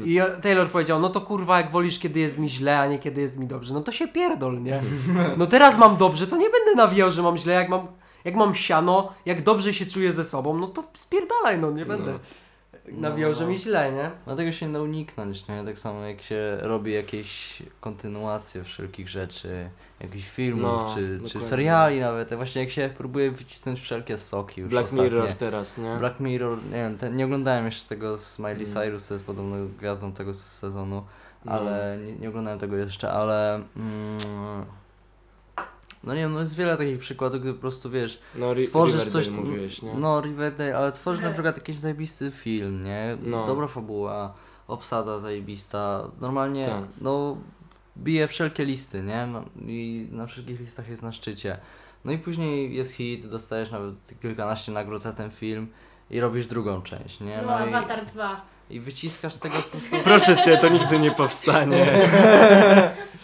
I Taylor powiedział, no to kurwa, jak wolisz, kiedy jest mi źle, a nie kiedy jest mi dobrze, no to się pierdol, nie? No teraz mam dobrze, to nie będę nawijał, że mam źle, jak mam, jak mam siano, jak dobrze się czuję ze sobą, no to spierdalaj, no nie będę nawijał, że mi źle, nie? No tego się nie da uniknąć, nie? Tak samo jak się robi jakieś kontynuacje wszelkich rzeczy, jakichś filmów, No, czy, czy dokładnie. seriali nawet. Właśnie jak się próbuje wycisnąć wszelkie soki już Black ostatnie. Mirror teraz, nie? Black Mirror, nie wiem, te, nie oglądałem jeszcze tego z Miley Mm. Cyrus, to jest podobno gwiazdą tego sezonu, No. ale nie, nie oglądałem tego jeszcze, ale... Mm, no nie wiem, no jest wiele takich przykładów, gdy po prostu wiesz, No, ri- tworzysz Riverdale coś. mówiłeś, nie? No, Riverdale, ale tworzysz na przykład jakiś zajebisty film, nie? No. Dobra fabuła, obsada zajebista. Normalnie, Tak. no, bije wszelkie listy, nie? No, I na wszystkich listach jest na szczycie. No i później jest hit, dostajesz nawet kilkanaście nagród za ten film i robisz drugą część, nie? No, i, Avatar 2. i wyciskasz z tego po prostu. Proszę cię, to nigdy nie powstanie.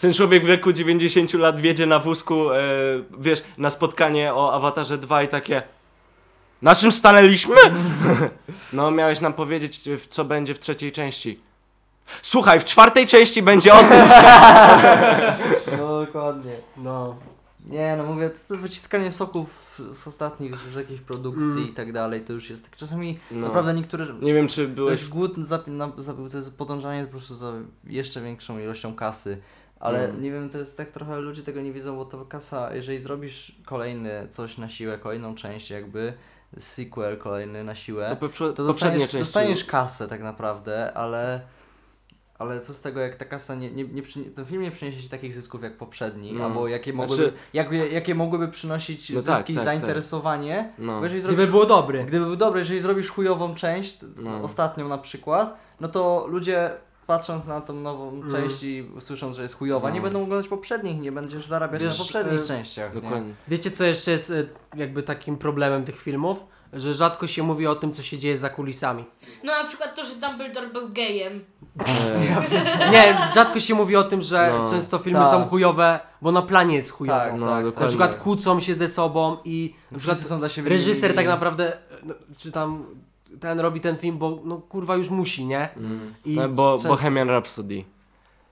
Ten człowiek w wieku 90 lat wiedzie na wózku, e, wiesz, na spotkanie o Awatarze 2 i takie. Na czym stanęliśmy? No, miałeś nam powiedzieć, w co będzie w trzeciej części. Słuchaj, w czwartej części będzie o tym. No dokładnie. No. Nie, no mówię, to, to wyciskanie soków z ostatnich, z jakichś produkcji i tak dalej, to już jest tak czasami Mm. No. naprawdę niektóre Nie wiem, czy To byłeś. jest głód, za, na, za, to jest podążanie po prostu za jeszcze większą ilością kasy. Ale Mm. nie wiem, to jest tak trochę, ludzie tego nie widzą, bo to kasa, jeżeli zrobisz kolejny coś na siłę, kolejną część jakby, sequel kolejny na To siłę, poprze- to poprzednie dostaniesz, części. dostaniesz kasę tak naprawdę, ale, ale co z tego, jak ta kasa nie, nie, nie przynie, ten film nie przyniesie ci takich zysków jak poprzedni, No. albo jakie Znaczy- mogłyby, jak, jakie mogłyby przynosić No tak, zyski i tak, tak. zainteresowanie, No. bo jeżeli zrobisz Gdyby było dobre. Gdyby był dobry, jeżeli zrobisz chujową część, t- No. ostatnią na przykład, no to ludzie patrząc na tą nową Mm. część i słysząc, że jest chujowa, nie No. będą oglądać poprzednich, nie będziesz zarabiać Wiesz, na poprzednich e, częściach. Nie? Dokładnie. Wiecie, co jeszcze jest e, jakby takim problemem tych filmów? Że rzadko się mówi o tym, co się dzieje za kulisami. No na przykład to, że Dumbledore był gejem. E, Nie, rzadko się mówi o tym, że No. często filmy Tak. są chujowe, bo na planie jest chujowo. Tak, No, dokładnie. tak, No, Na tak. przykład kłócą się ze sobą i na przykład Wszyscy są dla siebie reżyser mili. tak naprawdę, no, czy tam ten robi ten film, bo no kurwa już musi, nie? I No, bo często- Bohemian Rhapsody.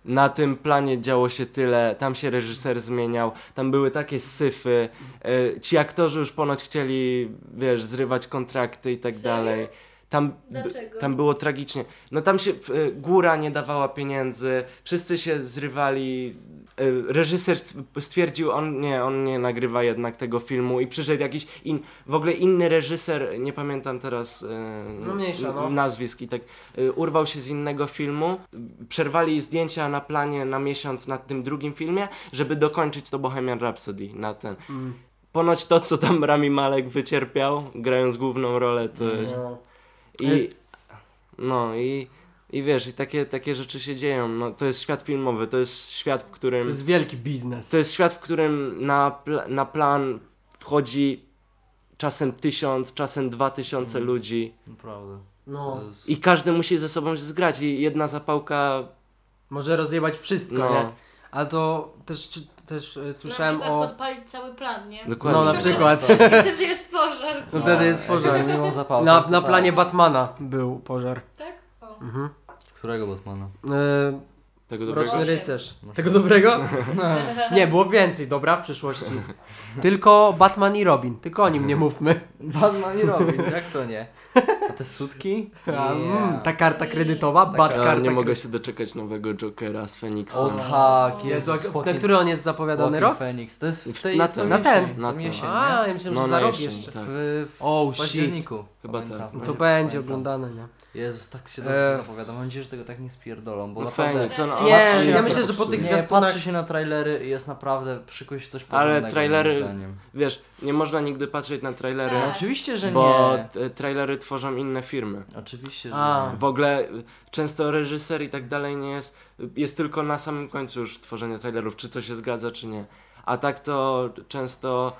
Na tym planie działo się tyle, tam się reżyser zmieniał, tam były takie syfy. E, ci aktorzy już ponoć chcieli, wiesz, zrywać kontrakty i tak Serio? Znaczy, dalej. Tam, b- Dlaczego? tam było tragicznie. No tam się e, góra nie dawała pieniędzy, wszyscy się zrywali. E, reżyser st- stwierdził, on nie, on nie nagrywa jednak tego filmu i przyszedł jakiś in, w ogóle inny reżyser, nie pamiętam teraz e, No mniejsza, no. nazwisk i tak y, urwał się z innego filmu, y, przerwali zdjęcia na planie na miesiąc nad tym drugim filmie, żeby dokończyć to Bohemian Rhapsody na ten. Mm. Ponoć to, co tam Rami Malek wycierpiał, grając główną rolę, to jest... No. I, no i, i wiesz, i takie, takie rzeczy się dzieją. No, to jest świat filmowy, to jest świat, w To którym... jest wielki biznes. To jest świat, w którym na, pl- na plan wchodzi czasem tysiąc, czasem dwa tysiące Mhm. ludzi Naprawdę. No, To jest- i każdy musi ze sobą się zgrać i jedna zapałka, może rozjebać wszystko, nie? no, Ale to też, czy, też e, Słyszałem słyszałem na przykład o... podpalić cały plan, nie? dokładnie. No na przykład. Wtedy jest pożar, No wtedy jest jak pożar. Miłą zapałkę, Na, to na tak. planie Batmana był pożar. tak? O. Którego Batmana? Yy, E, Tego dobrego. Mroczny Osiem. rycerz. No. Tego dobrego? Nie, było więcej, dobra, w przyszłości. Tylko Batman i Robin, tylko o nim nie mówmy. Batman i Robin, jak to nie? A te sutki? A, mm, Yeah. ta karta kredytowa, bat Ja karta no, nie mogę kredytowa. się doczekać nowego Jokera z Feniksem. O tak, No. Jezu, Jezu, jak- na który on jest zapowiadany Joaquin rok? Phoenix. To jest w W- tej, na w tym. tym Na ten. jesieni, Na w tym tym. jesieni, nie? A, ja myślałem, No, że na za rok jesień, jeszcze. tak. W, w Oh, No październiku. Chyba tak. Pamiętam, To będzie nie? Pamiętam. oglądane, nie? Jezus, tak się E. dobrze zapowiada. Mam nadzieję, że tego tak nie spierdolą, bo No naprawdę... Feniks, on, on Nie, patrzy się ja na myślę, to że po popsuje. tych Nie, zwiastunach- patrzy się na trailery i jest naprawdę, szykuje się coś Ale porządnego. trailery- moim zdaniem. Wiesz, nie można nigdy patrzeć na trailery, Tak. Oczywiście, że bo nie. t- trailery tworzą inne firmy. Oczywiście, że A. nie. W ogóle y, często reżyser i tak dalej nie jest, jest tylko na samym końcu już tworzenie trailerów, czy to się zgadza, czy nie. A tak to często,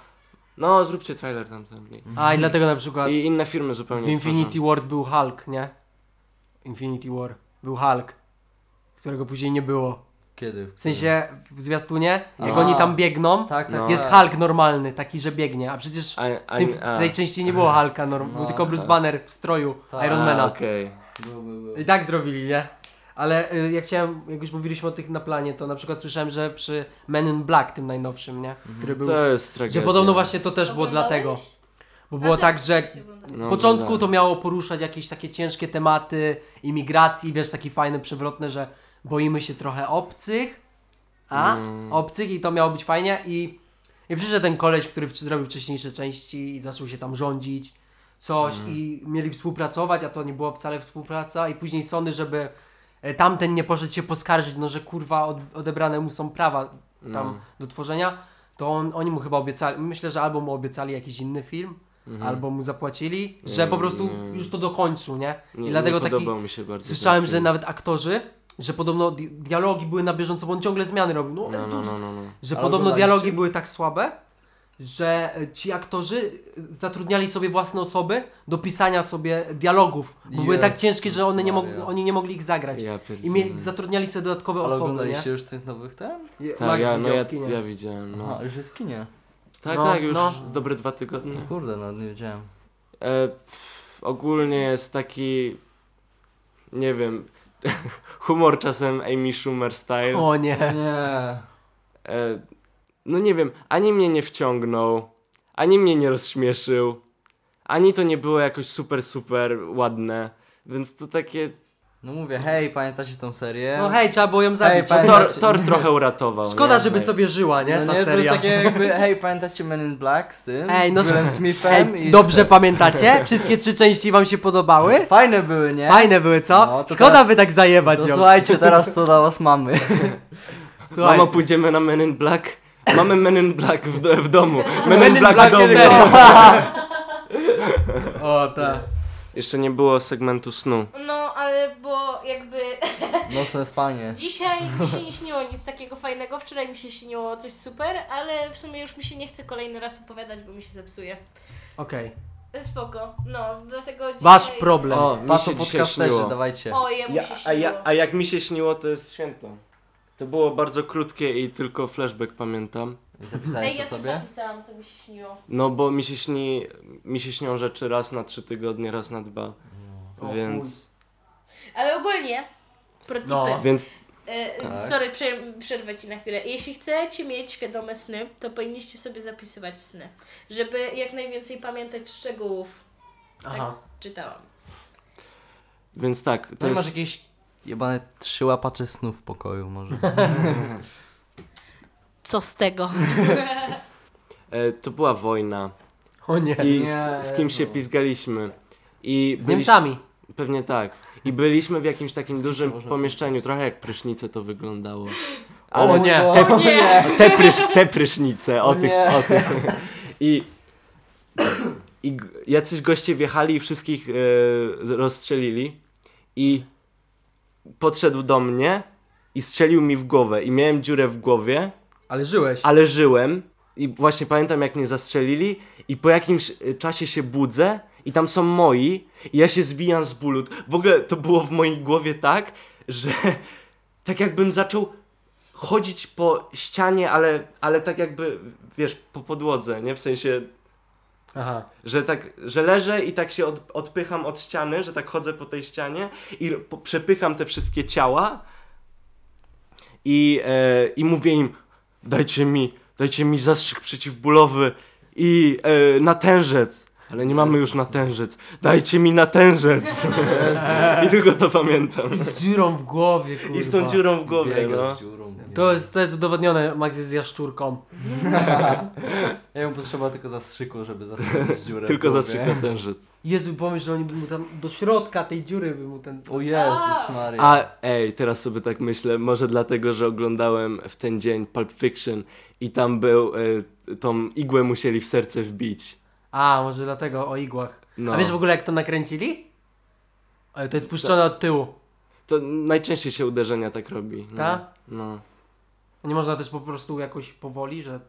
no zróbcie trailer tamten. A, i dlatego na przykład I inne firmy zupełnie Mm. w Infinity War był Hulk, nie? Infinity War był Hulk, którego później nie było. Kiedy? W sensie w zwiastunie, jak A. oni tam biegną, Tak, tak, jest tak. Hulk normalny, taki, że biegnie, a przecież A, a, w, tym, w tej części nie było Hulka, norm, No, był tylko Bruce tak. Banner w stroju Tak. Ironmana. Okej. Był, był, był. I tak zrobili, nie? Ale y, ja chciałem, jak już mówiliśmy o tych na planie, to na przykład słyszałem, że przy Men in Black, tym najnowszym, nie? Który był, Mhm. To jest tragedia. że podobno właśnie to też było dlatego. Bo było tak, że No, w początku to oglądałem. miało poruszać jakieś takie ciężkie tematy imigracji, wiesz, takie fajne, przewrotne, że boimy się trochę obcych, a? Mm. Obcych i to miało być fajnie i, i przyszedł ten koleś, który wcz- zrobił wcześniejsze części i zaczął się tam rządzić, coś Mm. i mieli współpracować, a to nie była wcale współpraca i później Sony, żeby e, tamten nie poszedł się poskarżyć, no że kurwa od, odebrane mu są prawa tam No. do tworzenia, to on, oni mu chyba obiecali, myślę, że albo mu obiecali jakiś inny film, no. Mhm. albo mu zapłacili, że po prostu Nie. już to dokończył, nie? I Nie, dlatego nie taki podobał mi się bardzo. ten słyszałem, że film. nawet aktorzy, że podobno di- dialogi były na bieżąco, bo on ciągle zmiany robił. No, No, no, no, no, no. Że Ale podobno oglądaliście? dialogi były tak słabe, że e, ci aktorzy e, zatrudniali sobie własne osoby do pisania sobie dialogów, bo były tak Jezus ciężkie, że one nie mog- Maria. oni nie mogli ich zagrać. Ja I pierdolę. mieli, zatrudniali sobie dodatkowe Ale osoby, nie? oglądaliście już tych nowych ten? Je- Tak, Max ja, no, widział ja, w kinie. ja widziałem. No. Aha, już jest w kinie. Tak, No, tak, już no. dobre dwa tygodnie. Kurde, no nie wiedziałem. E, pff, ogólnie jest taki, nie wiem, humor czasem Amy Schumer style. O nie. Nie. E, no nie wiem, ani mnie nie wciągnął, ani mnie nie rozśmieszył, ani to nie było jakoś super, super ładne. Więc to takie... No mówię, hej, pamiętacie tą serię? No hej, trzeba było ją zabić. Hej, panie- Thor, Thor trochę uratował. Szkoda, nie? żeby Tak. sobie żyła, nie? No Ta nie, to jest seria. takie jakby, hej, pamiętacie Men in Black z tym? Ej, no z Willem sz- Smithem Ej, i dobrze z... pamiętacie? Wszystkie trzy części wam się podobały? Fajne były, nie? Fajne były, co? No, to Szkoda teraz- by tak zajebać No, To ją. słuchajcie teraz, co dla was mamy. Mama, Słuchajcie. pójdziemy na Men in Black? Mamy Men in Black w, do, w domu. Men in in Black Black w domu. cztery. O, tak. Jeszcze nie było segmentu snu. No, ale bo jakby Nocne spanie. dzisiaj mi się nie śniło nic takiego fajnego, wczoraj mi się śniło coś super, ale w sumie już mi się nie chce kolejny raz opowiadać, bo mi się zepsuje. Okej. E, Spoko, no, dlatego dzisiaj... Wasz problem. O, mi Pato się dzisiaj podcasterzy, śniło. dawajcie. O, jemu Ja, się śniło. a, ja, a jak mi się śniło, to jest święto. To było bardzo krótkie i tylko flashback pamiętam. Zapisałeś Ej, to ja to sobie? zapisałam, co mi się śniło. No bo mi się śni, mi się śnią rzeczy raz na trzy tygodnie, raz na dwa. O Więc, Ale ogólnie, pro No. tipy. więc E, Tak. Sorry, prze- przerwę ci na chwilę. Jeśli chcecie mieć świadome sny, to powinniście sobie zapisywać sny, żeby jak najwięcej pamiętać szczegółów. Tak Aha. czytałam. więc tak, to To masz jest, jakieś jebane trzy łapacze snów w pokoju może. Co z tego? e, to była wojna O nie. i Nie, z, z kim się Jezu. pizgaliśmy. I Z byliś- Niemcami. Pewnie tak. I byliśmy w jakimś Z takim kim dużym to można pomieszczeniu, trochę jak prysznice to wyglądało. O nie. Te, te, prysz, te prysznice, o tych, nie. o tych. I, I g- jacyś goście wjechali i wszystkich e, rozstrzelili. I podszedł do mnie i strzelił mi w głowę. I miałem dziurę w głowie, Ale żyłeś. ale żyłem. I właśnie pamiętam, jak mnie zastrzelili. I po jakimś e, czasie się budzę i tam są moi. I ja się zwijam z bólu. W ogóle to było w mojej głowie tak, że tak jakbym zaczął chodzić po ścianie, ale, ale tak jakby, wiesz, po podłodze, nie? W sensie, Aha. że tak, że leżę i tak się od, odpycham od ściany, że tak chodzę po tej ścianie i po, przepycham te wszystkie ciała i, e, i mówię im, dajcie mi, dajcie mi zastrzyk przeciwbólowy i e, natężec. Ale nie mamy już natężec. Dajcie mi natężec. I tylko to pamiętam. I z dziurą w głowie, kurwa. I z tą dziurą w głowie, Biega no. z dziurą. To jest, to jest udowodnione, Max jest jaszczurką. Ja mu potrzeba tylko zastrzyku, żeby zastrzykuć dziurę w Tylko głowie. zastrzyk natężec. Jezu, pomyśl, że oni by mu tam do środka tej dziury by mu ten... O Jezus Maria. A ej, teraz sobie tak myślę, może dlatego, że oglądałem w ten dzień Pulp Fiction i tam był, y, tą igłę musieli w serce wbić. A, może dlatego o igłach. No. A wiesz w ogóle jak to nakręcili? Ale to jest puszczone od tyłu, To najczęściej się uderzenia tak robi. No. tak? No. Nie można też po prostu jakoś powoli, że...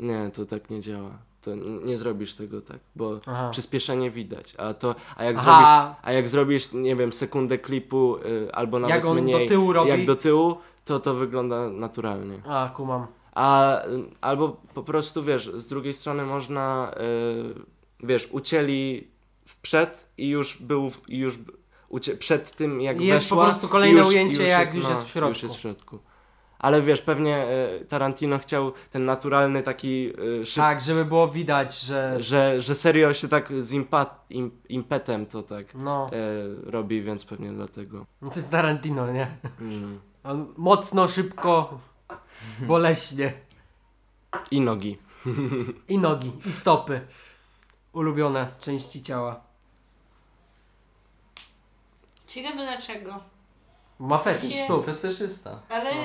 Nie, to tak nie działa. to n- nie zrobisz tego tak, bo Aha. przyspieszenie widać, a to, a jak zrobisz, Aha, a jak zrobisz, nie wiem, sekundę klipu y, albo nawet jak on mniej, do tyłu robi. jak do tyłu, to to wygląda naturalnie. A, kumam. A y, albo po prostu wiesz, z drugiej strony można y, wiesz, ucięli w przed i już był w- i już b- ucie, przed tym jak Jest weszła, po prostu kolejne już, ujęcie, jak już no, jest w Już środku. jest w środku. Ale wiesz, pewnie y, Tarantino chciał ten naturalny taki y, szybki, Tak, żeby było widać, że... że, że serio się tak z impa, im, impetem to tak No, y, robi, więc pewnie dlatego. No to jest Tarantino, nie? Mm. On mocno, szybko, boleśnie. I nogi. I nogi, i stopy. Ulubione części ciała. Ciekawe dlaczego. Ma fetysz Się- stóp. Fetyszysta. Ale No.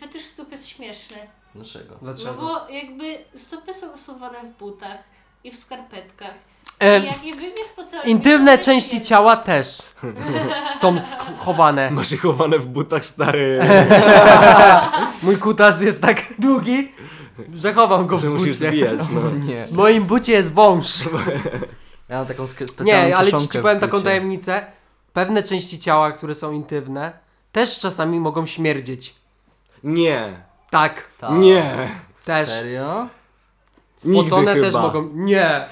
fetysz stóp jest śmieszny. Dlaczego? No Dlaczego? bo jakby stopy są usuwane w butach i w skarpetkach. E, I jak je wyjmiesz po całym... intymne części ciała też są schowane. Masz je chowane w butach, stary. Mój kutas jest tak długi, że chowam go w że musisz bucie. zwijać, no. Nie. W moim bucie jest wąż. Ja mam taką sk- specjalną Nie, ale ci, kieszonkę ci w powiem taką bucie. tajemnicę. Pewne części ciała, które są intymne, też czasami mogą śmierdzieć. Nie. Tak. Tak. Nie. Też. Serio? Nigdy Spocone też chyba. mogą. Nie!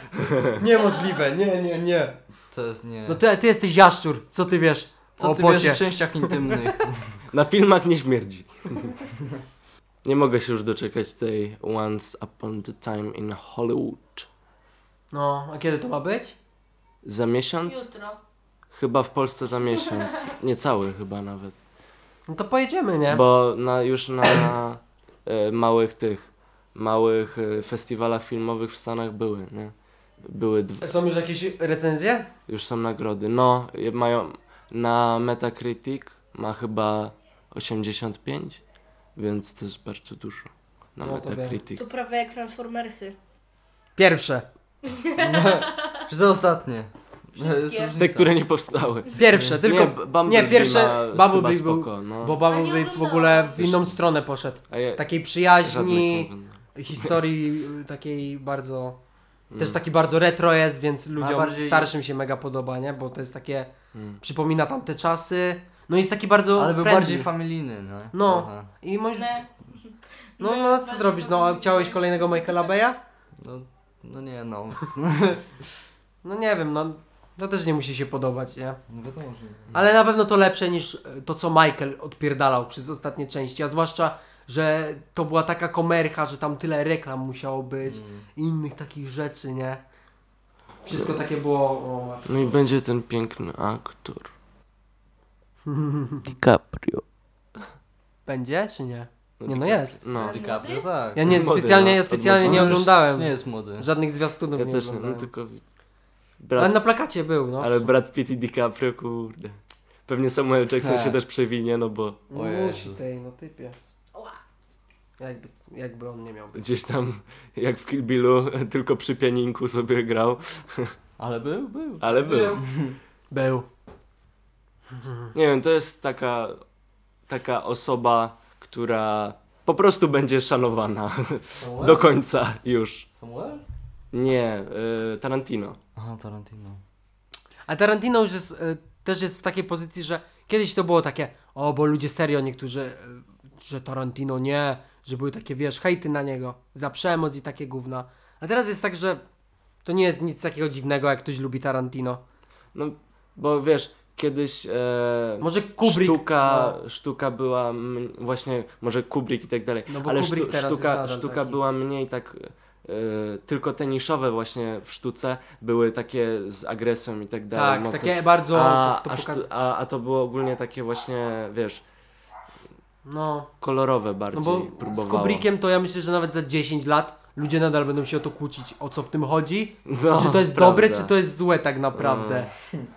Niemożliwe, nie, nie, nie. To jest nie. No ty, ty jesteś jaszczur, co ty wiesz? Co o ty pocie. wiesz w częściach intymnych? Na filmach nie śmierdzi. Nie mogę się już doczekać tej Once Upon the Time in Hollywood. No, a kiedy to ma być? Za miesiąc? Jutro. Chyba w Polsce za miesiąc. Niecały chyba nawet. No to pojedziemy, nie? Bo na, już na e, małych tych, małych e, festiwalach filmowych w Stanach były, nie? Były, dw- Są już jakieś recenzje? już są nagrody. No, je- mają, na Metacritic ma chyba 85, więc to jest bardzo dużo. Na No to wiem. Metacritic. To prawie jak Transformersy. Pierwsze. Czy to ostatnie? To jest Wszystkie. Te, różnica. które nie powstały. Pierwsze, tylko. b- Bumblebee nie, pierwsze ma Bumblebee chyba był- spoko, no. Bo tak A nie Bumblebee w oglądałam. ogóle w Wiesz- inną stronę poszedł. A ja, Takiej żadnych nie przyjaźni, oglądam. historii y, takiej bardzo. Mm, Też tak- taki bardzo retro jest, więc ludziom bardziej- starszym się mega podoba, nie? Bo to jest takie. mm. Przypomina tamte czasy. No jest taki bardzo. Ale był friendly. bardziej familijny, no. No. Trochę. I moim... Ne. No, no co zrobisz? No, a chciałeś kolejnego Michaela Beya? No, no nie, no. No nie wiem, no. To też nie musi się podobać, nie? No wiadomo, że nie. Ale na pewno to lepsze niż e, to, co Michael odpierdalał przez ostatnie części, a zwłaszcza, że to była taka komercha, że tam tyle reklam musiało być Mm. i innych takich rzeczy, nie? Wszystko takie było... O, No i będzie ten piękny aktor. DiCaprio. będzie, czy nie? No, Nie, no DiCaprio. tak. jest. No. Ale- DiCaprio, Młody? tak. Ja nie, Młody, specjalnie, no, ja specjalnie odmłodzony. nie On już oglądałem Nie jest młody. żadnych zwiastunów Ja nie też nie, no oglądałem. tylko... Ale Brat, na plakacie był, no. ale Brad Pitt i DiCaprio, kurde. Pewnie Samuel Jackson Tak. się też przewinie, no bo No O Musi Jezus. tej, no typie. Ła. Jakby, jakby on nie miał. gdzieś tam, jak w Kill Billu, tylko przy pianinku sobie grał, Ale był, był. ale był. Był. Nie wiem, to jest taka, taka osoba, która po prostu będzie szanowana Samuel? do końca już. Samuel? Nie, y, Tarantino. Aha, Tarantino. A Tarantino już jest, y, też jest w takiej pozycji, że kiedyś to było takie, o, bo ludzie serio niektórzy, y, że Tarantino nie, że były takie, wiesz, hejty na niego, za przemoc i takie gówna. A teraz jest tak, że to nie jest nic takiego dziwnego, jak ktoś lubi Tarantino. No, bo wiesz, kiedyś e, Może Kubrick. no. sztuka, sztuka była m- właśnie, może Kubrick i tak dalej, No bo ale Kubrick teraz jest sztuka, nadal sztuka taki. była mniej tak e, tylko teniszowe właśnie w sztuce były takie z agresją i tak dalej. tak, mocno. takie bardzo, a, to a, pokaz... sztu- a, a to było ogólnie takie właśnie, wiesz, no, kolorowe no bardziej bo z próbowało. Kubrickiem to ja myślę, że nawet za 10 lat ludzie nadal będą się o to kłócić, o co w tym chodzi, No, czy to jest prawda, No. dobre, czy to jest złe tak naprawdę,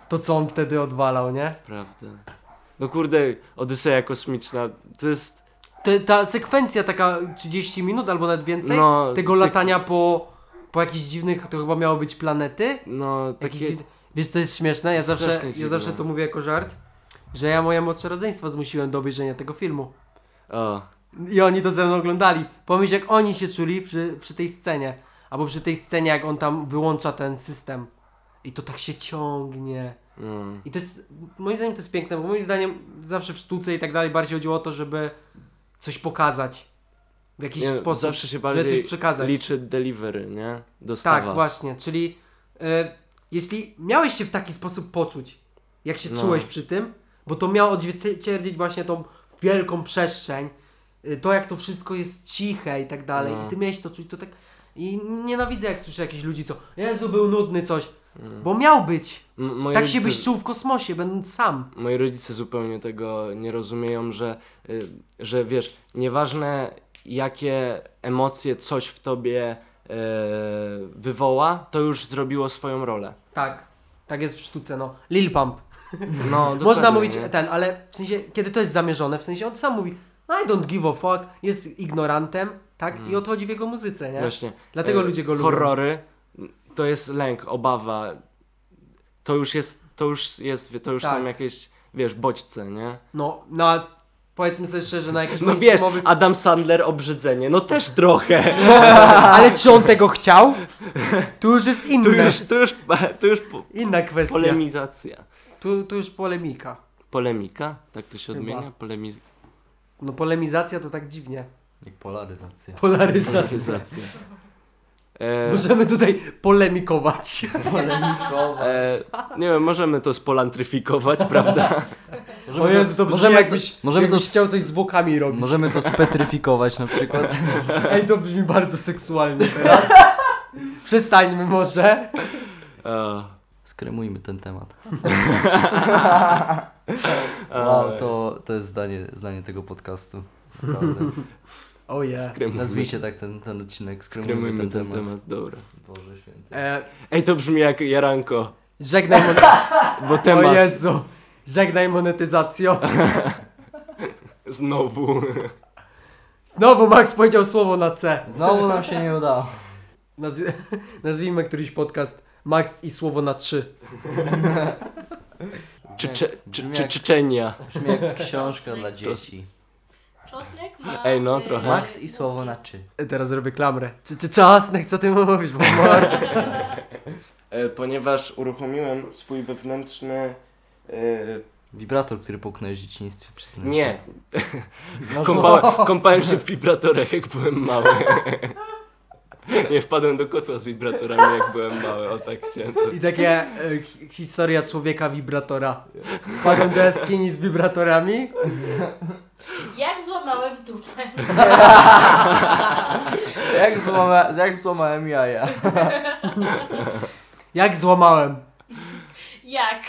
to co on wtedy odwalał, nie? Prawda. No kurde, Odyseja Kosmiczna, to jest... Te, ta sekwencja taka 30 minut albo nawet więcej No, tego tak- latania po, po jakichś dziwnych, to chyba miało być planety. No, Jakieś, takie... Wiesz co jest śmieszne? Ja zawsze, Strasznie ja dziwne. zawsze to mówię jako żart, że ja moje młodsze rodzeństwa zmusiłem do obejrzenia tego filmu. O, I oni to ze mną oglądali. Pomyśl jak oni się czuli przy, przy tej scenie. Albo przy tej scenie, jak on tam wyłącza ten system. I to tak się ciągnie. Mm. I to jest, moim zdaniem to jest piękne, bo moim zdaniem zawsze w sztuce i tak dalej bardziej chodziło o to, żeby coś pokazać. W jakiś Nie, sposób, zawsze się żeby coś bardziej przekazać. liczy delivery, nie? Dostawa. tak, właśnie, czyli e, jeśli miałeś się w taki sposób poczuć, jak się No. czułeś przy tym, bo to miało odzwierciedlić właśnie tą wielką przestrzeń, e, to jak to wszystko jest ciche i tak dalej, No. i ty miałeś to czuć, to tak... I nienawidzę, jak słyszę jakichś ludzi, co Jezu, był nudny, coś, No. bo miał być. M- moi Tak się rodzice- byś czuł w kosmosie, będąc sam. Moi rodzice zupełnie tego nie rozumieją, że, y, że wiesz, nieważne jakie emocje coś w tobie y, wywoła, to już zrobiło swoją rolę. Tak, tak jest w sztuce, no. Lil Pump. No, dokładnie, Można mówić tak, nie? ten, ale w sensie, kiedy to jest zamierzone, w sensie on sam mówi I don't give a fuck, jest ignorantem, tak? I odchodzi w jego muzyce, nie? Właśnie. Dlatego Y, ludzie go lubią. Horrory to jest lęk, obawa. To już jest, to już jest, to już Tak. są jakieś, wiesz, bodźce, nie? No, no a powiedzmy sobie szczerze, na jakiś No wiesz, mainstreamowy... Adam Sandler obrzydzenie, no też trochę. Ale czy on tego chciał? Tu już jest inne, Tu już, tu już, tu już po- inna kwestia. polemizacja. tu, tu już polemika. Polemika? Tak to się Chyba. odmienia? Polemiz... No polemizacja to tak dziwnie. Jak polaryzacja. Polaryzacja. Polemizacja. E, Możemy tutaj polemikować. e, nie wiem, możemy to spolantryfikować, prawda? Możemy O Jezu, to brzmi możemy jakbyś, możemy to jakbyś s- chciał coś z włokami robić. Możemy to spetryfikować na przykład. Ej, to brzmi bardzo seksualnie teraz. Przestańmy może. E, Skremujmy ten temat. e, Wow, to, to jest zdanie, zdanie tego podcastu. Naprawdę. Oh yeah. skremujmy- Nazwijcie tak ten, ten odcinek. Skremujmy, Skremujmy ten, temat. dobra. Boże święty. E, Ej, to brzmi jak Jaranko, żegnaj monetyzacją. bo O temat Jezu. Żegnaj monetyzacją. znowu. Znowu Max powiedział słowo na C. Znowu nam się nie udało. Nazwi- nazwijmy któryś podcast Max i słowo na 3. Czy, czy, czy, Brzmi czy, jak- Czeczenia. Brzmi jak książka dla dzieci. Czosnek ma... Ej, no, e, trochę. Max i słowo na czy. E, Teraz robię klamrę. Czy, czy czasnek, co ty mówisz, bo mar- E, ponieważ uruchomiłem swój wewnętrzny... e, Wibrator, który połknąłeś w dzieciństwie, przyznaję. Nie. Kąpałem, kąpałem się w wibratorach, jak byłem mały. Nie wpadłem do kotła z wibratorami, jak byłem mały, o tak chciałem. To... I takie e, hi- historia człowieka wibratora. Wpadłem do jaskini z wibratorami. Jak złamałem dupę. Jak, złama, jak złamałem jaja. Jak złamałem. Jak?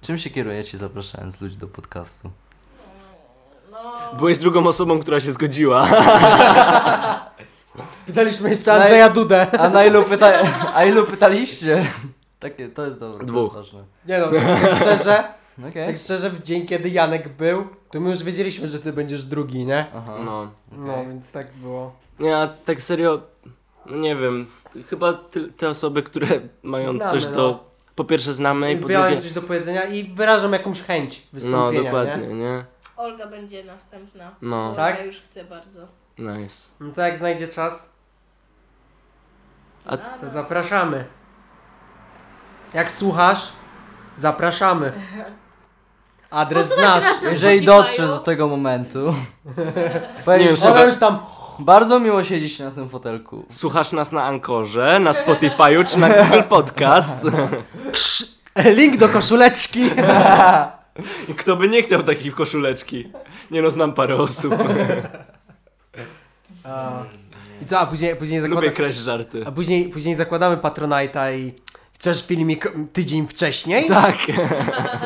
Czym się kierujecie zapraszając ludzi do podcastu? No... Byłeś drugą osobą, która się zgodziła. Pytaliśmy jeszcze Andrzeja Dudę. A na ilu, pyta- a ilu pytaliście? Takie, to jest dobre. to jest Dwóch. ważne. Nie no, tak szczerze, No Okej. tak szczerze w dzień kiedy Janek był, to my już wiedzieliśmy, że ty będziesz drugi, nie? Aha. No. No, więc tak było. Nie, a tak serio, no nie wiem. Chyba ty, te osoby, które mają Znamy, coś no. do... Po pierwsze znamy No i po Miałem drugie... coś do powiedzenia i wyrażam jakąś chęć No, wystąpienia, dokładnie, nie? nie? Olga będzie następna. No, Bo Tak? Ja już chcę bardzo. nice. No to jak znajdzie czas, A- to zapraszamy. Jak słuchasz, zapraszamy. Adres Posłuchajcie znasz. nas na Jeżeli Spotify'u. dotrzesz do tego momentu, powiem Nie wiem, ci, Ona już tam... bardzo miło siedzieć na tym fotelku. Słuchasz nas na Ankorze, na Spotify'u czy na Google Podcast. Link do koszuleczki. Kto by nie chciał takiej koszuleczki? Nie no, znam parę osób. A, I co, a później, później Lubię zakładam... kraść żarty. A później, później zakładamy Patronite'a i chcesz filmik mm, tydzień wcześniej? Tak.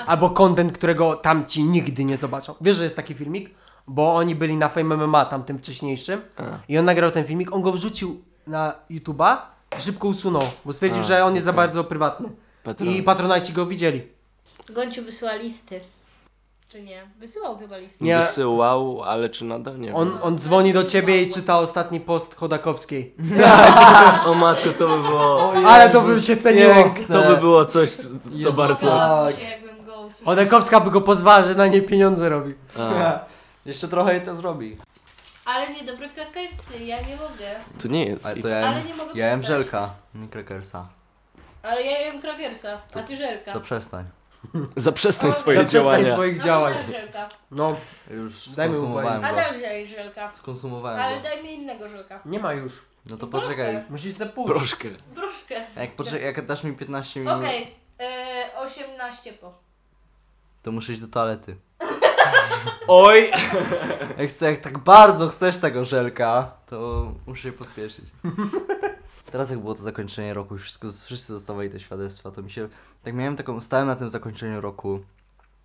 Albo content, którego tamci nigdy nie zobaczą. Wiesz, że jest taki filmik? Bo oni byli na Fame MMA, tamtym wcześniejszym. I on nagrał ten filmik, on go wrzucił na YouTube'a, szybko usunął, bo stwierdził, A, że on jest za okej. bardzo prywatny. Patron. I patronajci go widzieli. Gonciu wysyła listy. Czy nie? Wysyłał chyba listy. Nie. Wysyłał, ale czy nadal nie On, on dzwoni do ciebie i czyta ostatni post Chodakowskiej. wiem. O matko, to by było... Ale to by się ceniło. To by było coś, co bardzo... Chciałabym Tak. się, jakbym go usłyszała. Chodakowska by go pozwała, że na nie pieniądze robi. A. Jeszcze trochę i to zrobi. Ale niedobre krakersy, ja nie mogę. To nie jest. Ale I- to ja Ale jem, nie mogę ja jem przestać. żelka, nie krakersa. Ale ja jem krakersa, a ty żelka. No, Co przestań. Zaprzestań Ale- swoje Zaprzestań działania. swoich A działań. nadal żelka. No, Już Daj mi skonsumowałem A go. dalej żelka. Ale Skonsumowałem go. daj mi innego żelka. nie ma już. No to Proszę. poczekaj. Musisz zapuścić. Proszkę. Broszkę. A Jak, poczekaj, jak dasz mi 15 minut, Okej, e, 18 po. to muszę iść do toalety. Oj! Jak, chcę, jak tak bardzo chcesz tego żelka, to muszę się pospieszyć. Teraz jak było to zakończenie roku, wszystko, wszyscy dostawali te świadectwa, to mi się... Tak miałem taką... Stałem na tym zakończeniu roku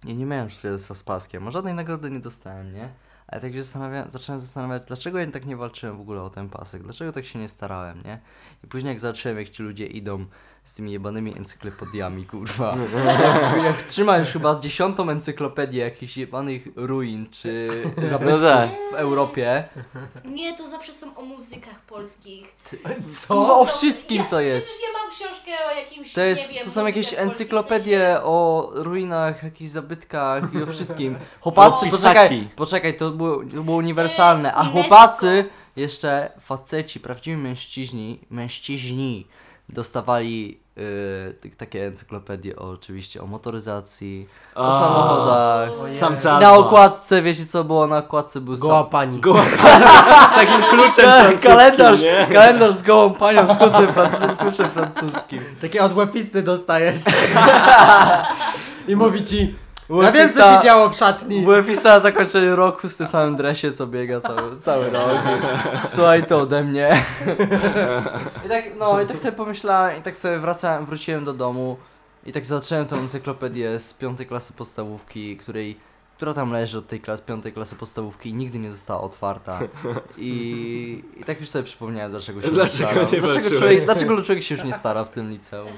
i nie miałem świadectwa z paskiem. a Żadnej nagrody nie dostałem, nie? Ale tak się zastanawia, zacząłem zastanawiać, dlaczego ja tak nie walczyłem w ogóle o ten pasek, dlaczego tak się nie starałem, nie? I później jak zobaczyłem, jak ci ludzie idą z tymi jebanymi encyklopediami, kurwa. jak, jak trzymasz chyba dziesiątą encyklopedię jakichś jebanych ruin, czy zabytków tak. w Europie, Nie, to zawsze są o muzykach polskich. Kurwa, o To- no, wszystkim ja, to jest. Przecież ja mam książkę o jakimś, To, jest, nie wiem, to są muzykach jakieś polskich, encyklopedie w sensie- o ruinach, jakichś zabytkach i o wszystkim. Chłopacy, No, poczekaj, Pisaki. poczekaj, to było, to było uniwersalne. A UNESCO. chłopacy, jeszcze faceci, prawdziwi mężczyźni, mężczyźni dostawali y, t- takie encyklopedie o, oczywiście o motoryzacji, o A, samochodach. Samca. Na okładce, wiecie co było na okładce? Był Goła sam, pani. Goła z takim kluczem francuskim, Tak, kalendarz, nie? kalendarz z gołą panią z kucem fran- kluczem francuskim. Takie od łepisty dostajesz. I mówi ci, ja wiem co Łepista- się działo w szatni. Byłem pisała zakończenie roku w tym samym dresie, co biega cały, cały rok. Słuchaj to ode mnie. I tak, no, i tak sobie pomyślałem, i tak sobie wracałem, wróciłem do domu i tak zacząłem tą encyklopedię z piątej klasy podstawówki, której, która tam leży od tej klas, piątej klasy podstawówki i nigdy nie została otwarta. I, i tak już sobie przypomniałem, dlaczego się Dlaczego nie starał. nie dlaczego, walczyłeś? człowiek, dlaczego człowiek się już nie stara w tym liceum.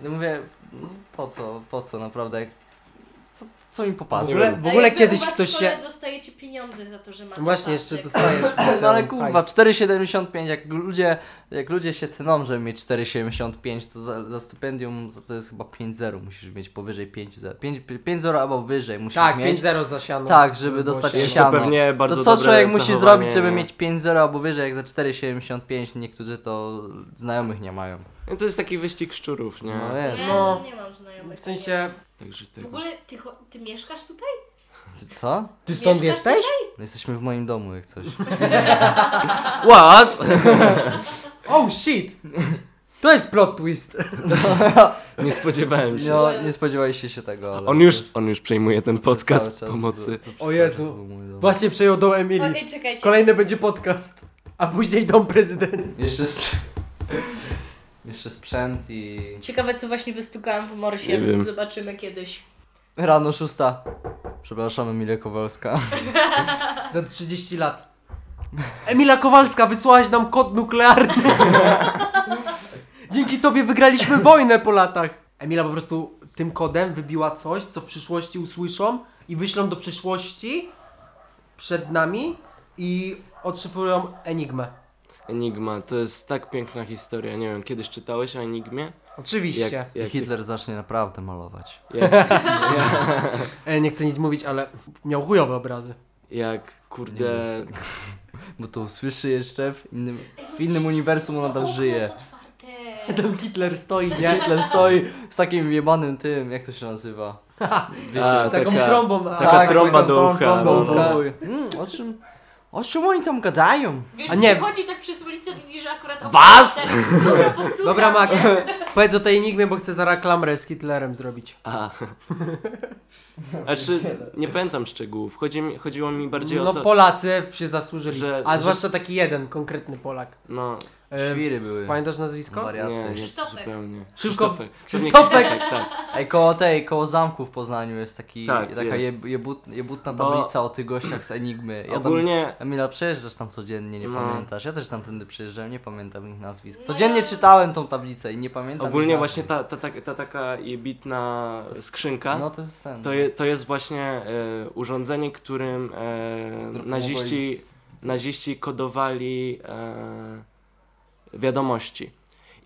No mówię, no, po co, po co, naprawdę, jak- co, co mi W popadło? ogóle, A w ogóle jakby kiedyś u was ktoś w szkole się... dostajecie pieniądze za to, że macie Właśnie jeszcze pasek. dostajesz w No ale liceum kurwa, hajs. 4,75, jak ludzie, jak ludzie się tną, żeby mieć 4,75, to za, za stypendium za- to jest chyba 5,0, musisz mieć powyżej 5,0, 5, 5,0 albo wyżej musisz Tak, mieć. 5-0 za siano. Tak, żeby dostać się. Jeszcze siano. pewnie bardzo To co dobre człowiek musi zachowanie, no. zrobić, żeby nie? mieć 5,0 albo wyżej, jak za 4,75 niektórzy to znajomych nie mają. No to jest taki wyścig szczurów, nie? No Ja jest. No. nie mam znajomych. no W sensie... Także tak. W tego. ogóle ty, cho- ty mieszkasz tutaj? Ty Co? Ty stąd Mieszkasz jesteś? No jesteśmy w moim domu, jak coś. What? Oh shit! To jest plot twist. Nie spodziewałem się. No, nie spodziewaliście się tego, ale... On już, on już przejmuje ten podcast Cały czas pomocy. to- to O cały Jezu. czas był mój dom. Właśnie przejął dom O, Emilii. ej, czekajcie. Kolejny będzie podcast. A później dom prezydent. Jeszcze sprzęt. Jeszcze sprzęt i. Ciekawe, co właśnie wystukałam w Nie morsie. wiem. Zobaczymy kiedyś. Rano szósta. Przepraszam, Emilia Kowalska. Za 30 lat. Emila Kowalska, wysłałaś nam kod nuklearny. Dzięki tobie wygraliśmy wojnę po latach. Emila po prostu tym kodem wybiła coś, co w przyszłości usłyszą i wyślą do przyszłości przed nami i odszyfrują enigmę. Enigma, to jest tak piękna historia. Nie wiem, kiedyś czytałeś o Enigmie? Oczywiście. jak, Hitler zacznie naprawdę malować. jak, E, nie chcę nic mówić, ale miał chujowe obrazy. jak Nie kurde... Bo to usłyszy jeszcze w innym, w innym uniwersum on nadal Okno żyje. jest otwarte. Ten Hitler stoi, nie? Hitler stoi z takim jebanym tym, jak to się nazywa? Wiecie, tak, A, Z taką Taka- trąbą na... taka trąba do trą- ucha, trąbą no, do no. ucha. Mm, o czym. O czym oni tam gadają? Wiesz, A nie. przychodzi tak przez ulicę, widzisz, że akurat... okno Was? jest otwarte. Dobra, posłuchaj. Dobra, Max, powiedz o tej enigmie, bo chcę zaraz klamrę z Hitlerem zrobić. A. Znaczy, nie pamiętam szczegółów. Chodzi mi, chodziło mi bardziej o No, to, Polacy się zasłużyli. Że- A że- zwłaszcza taki jeden konkretny Polak. no, E, Świry były. pamiętasz nazwisko? Wariaty. nie, nie Krzysztofek. zupełnie. Szybko- Krzysztofek. To nie Krzysztofek! Krzysztofek, tak. Ej, koło tej, koło zamku w Poznaniu jest taki, Tak, taka jest. jeb, jebut, jebutna Bo- tablica o tych gościach z Enigmy. Ja tam Ogólnie, Emila, przejeżdżasz tam codziennie, nie No. pamiętasz. Ja też tamtędy przejeżdżałem, nie pamiętam ich nazwisk. No Codziennie ja- czytałem tą tablicę i nie pamiętam. ogólnie ich właśnie nazwisk. ta, ta, ta, ta taka jebitna skrzynka, No to jest ten. To, je, to jest właśnie e, urządzenie, którym e, który naziści, pomogłeś z- naziści kodowali e, wiadomości.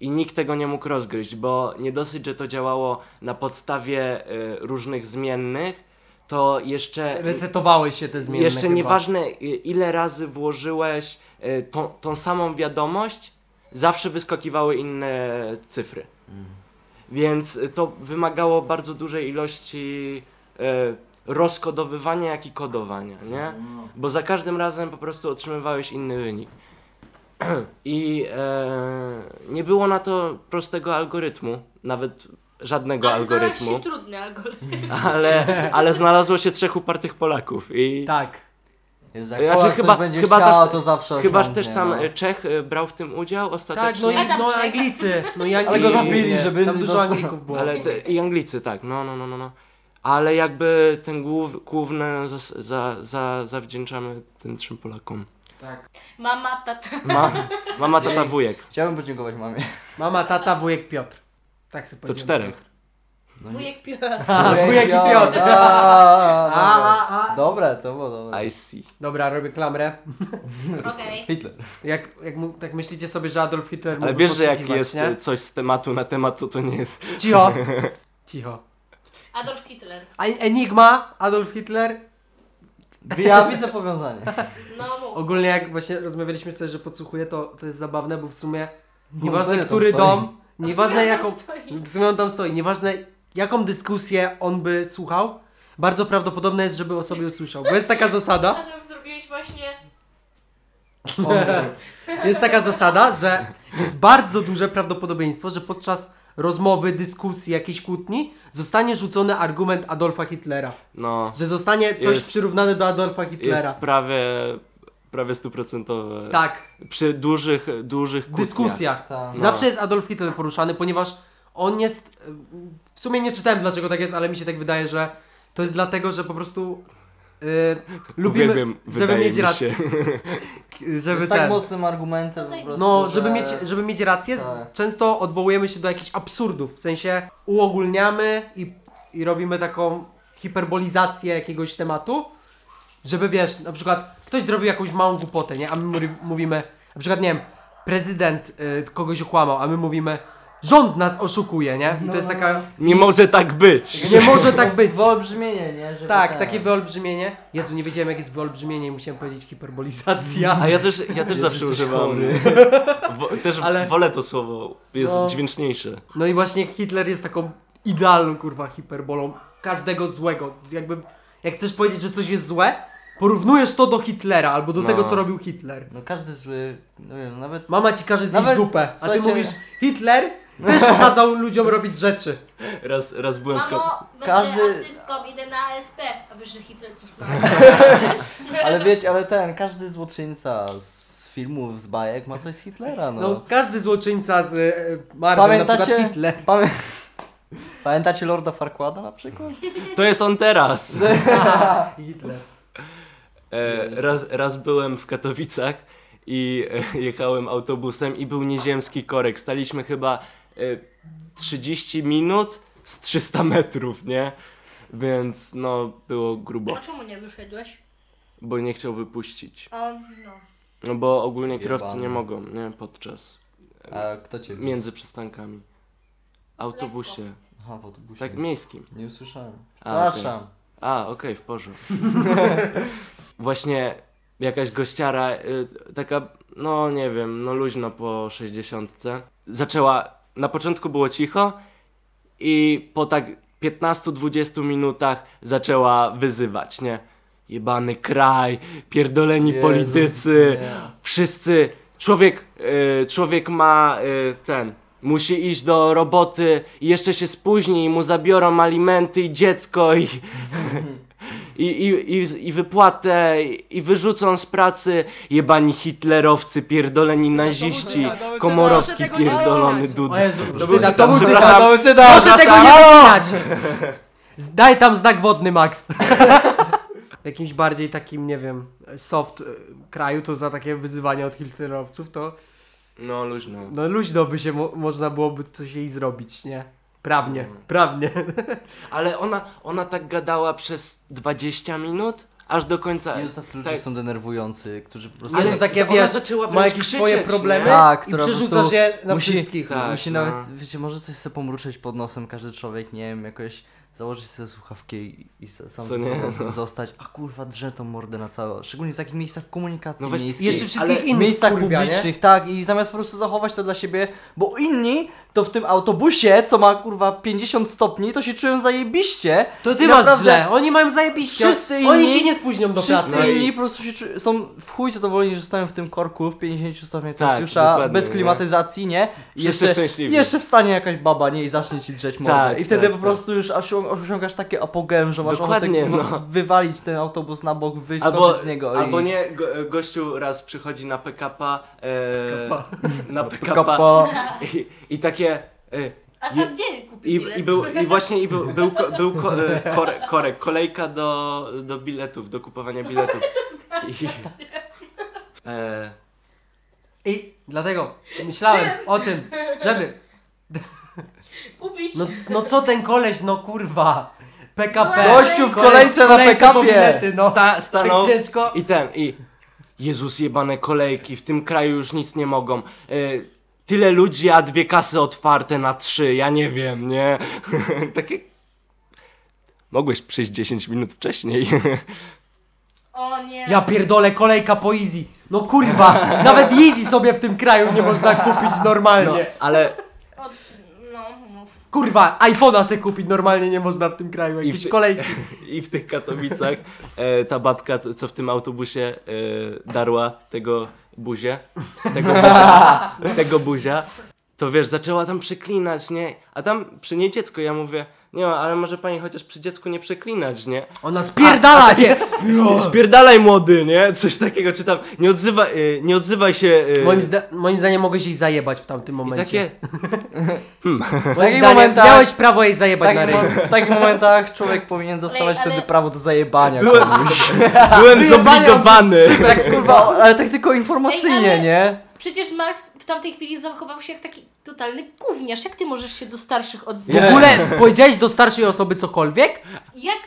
I nikt tego nie mógł rozgryźć, bo nie dosyć, że to działało na podstawie e, różnych zmiennych, to jeszcze Resetowałeś się te zmiany. jeszcze chyba. nieważne y, ile razy włożyłeś y, tą, tą samą wiadomość, zawsze wyskakiwały inne cyfry. Mm. Więc y, to wymagało bardzo dużej ilości y, rozkodowywania, jak i kodowania, nie? No. Bo za każdym razem po prostu otrzymywałeś inny wynik. I e, nie było na to prostego algorytmu, nawet żadnego Ale algorytmu, znalazł się trudny algorytm. ale, ale znalazło się trzech upartych Polaków. I Tak. Jezu, Ja jak się Znaczy, Polak chyba- chyba, będzie chyba chciała, też- to zawsze Chyba, że osiągnie, też tam no. e, Czech e, brał w tym udział Tak, ostatecznie. no i A tam no, co? Anglicy. No i Anglicy. go zabili, nie. żeby Tam nie dużo dostał. Anglików było. Ale te, i Anglicy, tak, no, no, no, no. no. Ale jakby ten głów, główne za, za, za, zawdzięczamy tym trzem Polakom. Tak. Mama, tata. Ma, mama, tata, Jej. wujek. Chciałbym podziękować mamie. Mama, tata, wujek Piotr. Tak sobie To czterech. Wujek Piotr. wujek i Piotr. A, A, a, a. Dobre, to było dobre. I see. Dobra, robię klamrę. Okej. Hitler. Jak, jak mu, tak myślicie sobie, że Adolf Hitler Ale mógłby wiesz, że jak podsłuchiwać, jest nie? e, coś z tematu na temat, to to nie jest. Cicho. Cicho. Adolf Hitler. A Enigma, Adolf Hitler. Ja widzę powiązanie. No mów. Ogólnie jak właśnie rozmawialiśmy sobie, że podsłuchuje, to, to jest zabawne, bo w sumie w sumie nieważne No, tam który stoi. dom, A w nieważne sumie on jaką... stoi. W sumie on tam stoi, nieważne jaką dyskusję on by słuchał, bardzo prawdopodobne jest, żeby o sobie usłyszał. Bo jest taka zasada, Adam zrobiłeś właśnie... jest taka zasada, że jest bardzo duże prawdopodobieństwo, że podczas rozmowy, dyskusji, jakiejś kłótni zostanie rzucony argument Adolfa Hitlera. No, Że zostanie coś Jest- przyrównane do Adolfa jest Hitlera. prawie, prawie stuprocentowe. Tak, Przy dużych, dużych w kłótniach. dyskusjach. Tak. No. Zawsze jest Adolf Hitler poruszany, ponieważ on jest. ym, W sumie nie czytałem dlaczego tak jest, ale mi się tak wydaje, że to jest dlatego, że po prostu y, lubimy, Uwielbiam, żeby wydaje mieć mi rację. się. K- To Żeby jest tak ten, mocnym argumentem po prostu, no, żeby że... mieć, żeby mieć rację, z- Tak. często odwołujemy się do jakichś absurdów, w sensie uogólniamy i, i robimy taką hiperbolizację jakiegoś tematu, żeby wiesz, na przykład ktoś zrobił jakąś małą głupotę, nie? A my mówi- mówimy, na przykład nie wiem, prezydent y, kogoś okłamał, a my mówimy rząd nas oszukuje, nie? I to jest taka, No. Nie może tak być. nie może tak być. Wyolbrzymienie, nie? Żeby Tak, ten- takie wyolbrzymienie. Jezu, nie wiedziałem jak jest wyolbrzymienie i musiałem powiedzieć hiperbolizacja. A ja też, ja też zawsze jesteś używam. chory. Wo, też Ale- wolę to słowo, jest No. dźwięczniejsze. No i właśnie Hitler jest taką idealną kurwa hiperbolą każdego złego. Jakby, jak chcesz powiedzieć, że coś jest złe, porównujesz to do Hitlera albo do No. tego, co robił Hitler. No każdy zły, no wiem, nawet... Mama ci każe zjeść Nawet- zupę, a ty słuchajcie- mówisz, Hitler też kazał ludziom robić rzeczy. Raz, raz byłem w ko- Mamo, będę Każdy- artystką, idę na ASP. A wiesz, że Hitler coś ma. Ale wiecie, ale ten, każdy złoczyńca z filmów, z bajek ma coś z Hitlera, no. No, każdy złoczyńca z e, Marvel, na Pamiętacie- przykład Hitler. Pamię... Pamiętacie Lorda Farquada na przykład? To jest on teraz. Hitler. E, raz, raz byłem w Katowicach i e, jechałem autobusem i był nieziemski korek. Staliśmy chyba e, 30 minut z 300 metrów, nie? Więc no, było grubo, A czemu nie wyszedłeś? bo nie chciał wypuścić. A, no. No bo ogólnie kierowcy nie Jebany. mogą, nie? Podczas, A kto cię... między przystankami. Autobusie, Aha, w autobusie. tak miejskim. Nie usłyszałem. A, tak. okej. Przepraszam. A, okej, w porządku. Właśnie jakaś gościara, y, taka, no nie wiem, no luźno po 60. Zaczęła, na początku było cicho i po tak 15-20 minutach zaczęła wyzywać, nie? Jebany kraj, pierdoleni Jezus, politycy, nie. wszyscy, człowiek, y, człowiek ma y, ten, musi iść do roboty i jeszcze się spóźni i mu zabiorą alimenty i dziecko i, i, i, i, i wypłatę i wyrzucą z pracy jebani hitlerowcy, pierdoleni naziści, komorowski Proszę tego nie pierdolony czytać. dud. O Jezu, to był Przepraszam, cytat, to był przepraszam. cytat. Proszę tego nie wycinać! Daj tam znak wodny, Max. W jakimś bardziej takim, nie wiem, soft e, kraju, to za takie wyzywania od hitlerowców, to No luźno. no luźno by się mo- można byłoby coś jej zrobić, nie? Prawnie, Mhm. prawnie. Ale ona, ona tak gadała przez 20 minut, aż do końca. Jezu, tacy ludzie tak. są denerwujący, którzy po prostu... Ale to takie, ona wiesz, zaczęła Ma wręcz jakieś krzyczeć, swoje nie? problemy Tak, i która po przerzuca prostu się na musi- wszystkich. Tak, Musi no. nawet, wiecie, może coś sobie pomruczeć pod nosem każdy człowiek, nie wiem, jakoś założyć sobie słuchawki i- i sam Co ze nie, sobą no. tym zostać. A kurwa, drze tą mordę na całe. Szczególnie w takich miejscach w komunikacji No weź- miejskiej. Jeszcze wszystkich innych miejscach wkurwia, nie? publicznych, tak. I zamiast po prostu zachować to dla siebie, bo inni to w tym autobusie, co ma kurwa 50 stopni, to się czują zajebiście. To I ty masz naprawdę źle, oni mają zajebiście. Wszyscy Oni inni- się nie spóźnią do Wszyscy pracy. No i- inni po prostu się czu- są w chuj zadowoleni, że stoją w tym korku w 50 stopniach Tak, Celsjusza, dokładnie, bez nie? klimatyzacji, nie? I Wszyscy jeszcze, szczęśliwi. jeszcze wstanie jakaś baba, nie? I zacznie ci drzeć mordę. Tak, I wtedy tak, po prostu już aż aż osiągasz takie apogeum, że masz ochotę Dokładnie, kurwa, no. wywalić ten autobus na bok, wyskoczyć Albo, z niego albo i... nie, go, gościu raz przychodzi na PKP, e, na PKP Kapa. i, i takie... E, A Je- tam gdzie kupi i, bilet? I był, i właśnie i był, był, ko, był ko, e, kore, korek, kolejka do, do biletów, do kupowania biletów. I, e, I dlatego myślałem o tym, żeby. Kupić? No, no co ten koleś, no kurwa. PKP. Gościu w Koleś kolejce na kolejce po PKP. bilety, No. sta, stanął Tak ciężko. i ten, i Jezus jebane kolejki, w tym kraju już nic nie mogą. E, tyle ludzi, a dwie kasy otwarte na trzy, ja nie wiem, nie? Takie... Mogłeś przyjść 10 minut wcześniej. O nie. Ja pierdolę kolejka po Easy. No kurwa, nawet Easy sobie w tym kraju nie można kupić normalnie. No, ale Od... No, mów. Kurwa, iPhone'a se kupić normalnie nie można w tym kraju. Jakieś w- kolejki. i w tych Katowicach e, ta babka, co co w tym autobusie e, darła tego buzię, tego buzia, tego buzia, to wiesz, zaczęła tam przeklinać, nie? A tam przy niej dziecko, ja mówię, nie no, ale może pani chociaż przy dziecku nie przeklinać, nie? Ona spierdala nie. Sp- Spierdalaj młody, nie? Coś takiego czytam. Nie, odzywa, e, nie odzywaj się. e, Moim, zda- moim zdaniem mogłeś jej zajebać w tamtym I momencie. takie. Moim takich zdaniem momentach- miałeś prawo jej zajebać na Tak, ryj. mo- w takich momentach człowiek powinien dostawać Ale- wtedy prawo do zajebania. Byłem, kurwa. byłem zobligowany. Tak kurwa, ale tak tylko informacyjnie, Ej, ale- nie? Przecież Max w tamtej chwili zachował się jak taki totalny gówniarz. Jak ty możesz się do starszych W Nie. odzywać? ogóle powiedziałeś do starszej osoby cokolwiek? Jak...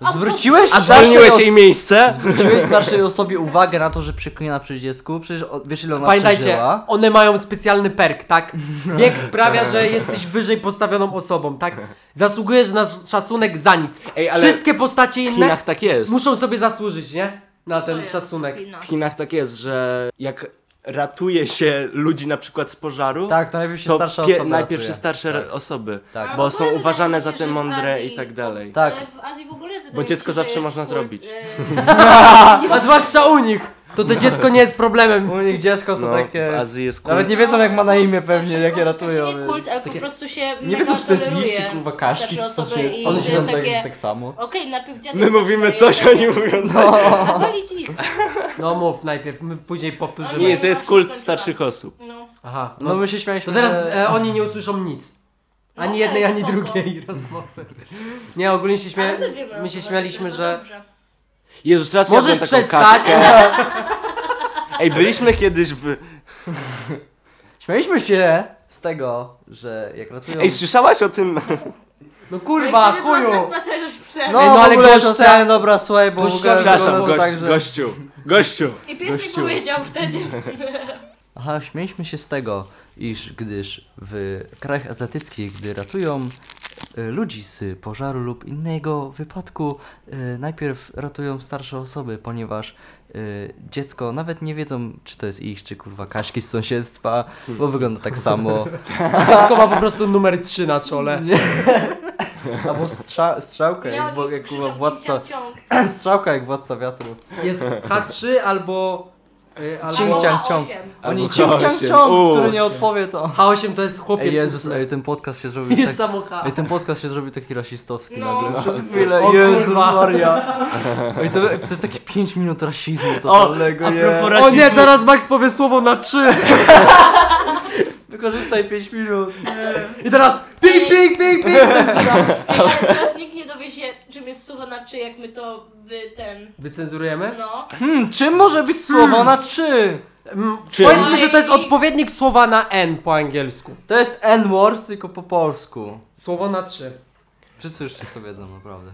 w autobusie- Zwróciłeś A się zwolniłeś jej miejsce? Zwróciłeś starszej osobie uwagę na to, że przeklina przy dziecku? Przecież o- wiesz ile ona Pamiętajcie, przeżyła? one mają specjalny perk, tak? Bieg sprawia, że jesteś wyżej postawioną osobą, tak? Zasługujesz na szacunek za nic. Ej, ale Wszystkie postacie W inne Chinach tak jest. muszą sobie zasłużyć, nie? Na To no. ten jest szacunek. spina. W Chinach tak jest, że jak ratuje się ludzi na przykład z pożaru, Tak, to najpierw się to starsza pie- osoba najpierw ratuje. się starsze Tak. osoby, Tak. bo Ale w ogóle są wydaje uważane mi się, za że te w mądre Azji- i tak dalej. Tak. Ale E, w Azji w ogóle wydaje Bo mi dziecko się, że zawsze jest można kult, zrobić. e, A zwłaszcza u nich, to to dziecko nie jest problemem. U nich dziecko to No, takie... w Azji jest kult. Nawet nie wiedzą jak ma na imię starszych pewnie, jakie osób, w sensie ratują. Nie więc- kult, ale po prostu się Nie mega wiedzą czy to jest toleruje liście, kurwa kaszki, starsze co osoby się jest. i One to się jest tak, takie... tak samo. Okej, najpierw dziadek... No. My mówimy coś, oni mówią coś. A walić ich. No mów najpierw, my później No Nie, powtórzymy. że jest kult starszych osób. No. Aha, No no my się śmialiśmy, to teraz że- e, oni nie usłyszą nic. Ani No, jednej, ale ani spoko. drugiej rozmowy. Nie, ogólnie się śmia... Ale my wiemy, my o się co chodzi, śmialiśmy, no że... dobrze. Jezus, raz Możesz jadłem taką przestać? kaczkę. Ej, byliśmy kiedyś w... Śmialiśmy się z tego, że jak ratują... Ej, słyszałaś o tym? No kurwa, No i wtedy chuju! wyobraź spacerzysz psem. No, Ej, no, w ale ogóle gościa- to chciałem, dobra, słuchaj, bo w Gościa- ogóle Przepraszam, było gość, tak, że- gościu. Gościu. I pies mi Gościu. powiedział wtedy. Aha, śmieliśmy się z tego, iż gdyż w krajach azjatyckich, gdy ratują e, ludzi z pożaru lub innego wypadku, e, najpierw ratują starsze osoby, ponieważ e, dziecko nawet nie wiedzą, czy to jest ich, czy kurwa Kaśki z sąsiedztwa, bo wygląda tak samo, Dziecko ma po prostu numer 3 na czole. albo strza- strzałka, Miał jak, bo- jak kurwa władca, ciąg. strzałka jak władca wiatru. Jest H3 albo... Y, Cięcia. albo... ciąg, ciąg. Oni ciąg, ciąg, H8. ciąg, który U. nie odpowie to. H8 to jest chłopiec. Ej, Jezus, ósmy. ej, ten podcast się zrobił Jest tak... samo H. Ej, ten podcast się zrobił taki rasistowski No. nagle. Przez O chwilę, kurwa. Jezus Maria. Ej, to, to jest takie 5 minut rasizmu totalnego, a nie? propos O nie, rasizmu. zaraz Max powie słowo na 3! Wykorzystaj 5 minut. I teraz ping, ping, ping, ping! Ale tak teraz nikt nie dowie się, czym jest sucho na czy, jak my to wy ten. Wycenzurujemy? No. Hmm, czym może być słowo na czy? Mm, Czy- Powiedzmy, że to jest odpowiednik słowa na N po angielsku. To jest N-word, tylko po polsku. Słowo na 3. Wszyscy już wszystko wiedzą, naprawdę.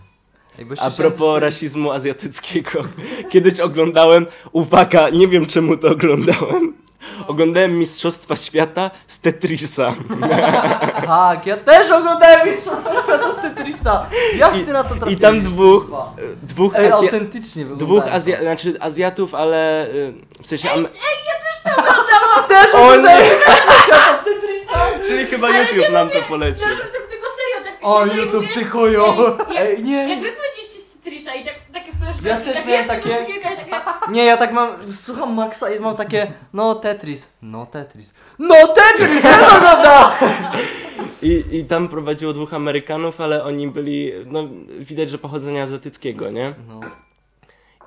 Ej, bo jeszcze A chciałem propos rasizmu azjatyckiego, kiedyś oglądałem, uwaga, nie wiem czemu to oglądałem, No. Oglądałem Mistrzostwa Świata z Tetrisa. Tak, ja też oglądałem Mistrzostwa Świata z Tetrisa. Jak I- ty na to trafiłeś? I tam dwóch, kurwa? dwóch, Ej, Azja- autentycznie wygląda. dwóch Azja- znaczy Azjatów, ale y, w sensie... Am- Też O oglądałem nie! Mistrzostwa Świata z Tetrisa. Czyli chyba YouTube nam to polecił. Przepraszam, tak tego serio, tak O, siedzę i YouTube, mówię, ty chujo! ej, jak- Ej, Jak nie. wy powiedzieliście z Citrisa i tak, takie flashbacki, Ja też tak miałem jak takie- cukierka i takie... Nie, ja tak mam, słucham Maxa i mam takie, no Tetris, no Tetris, no Tetris, ja to oglądałem! I, I tam prowadziło dwóch Amerykanów, ale oni byli, no widać, że pochodzenia azjatyckiego, nie? No.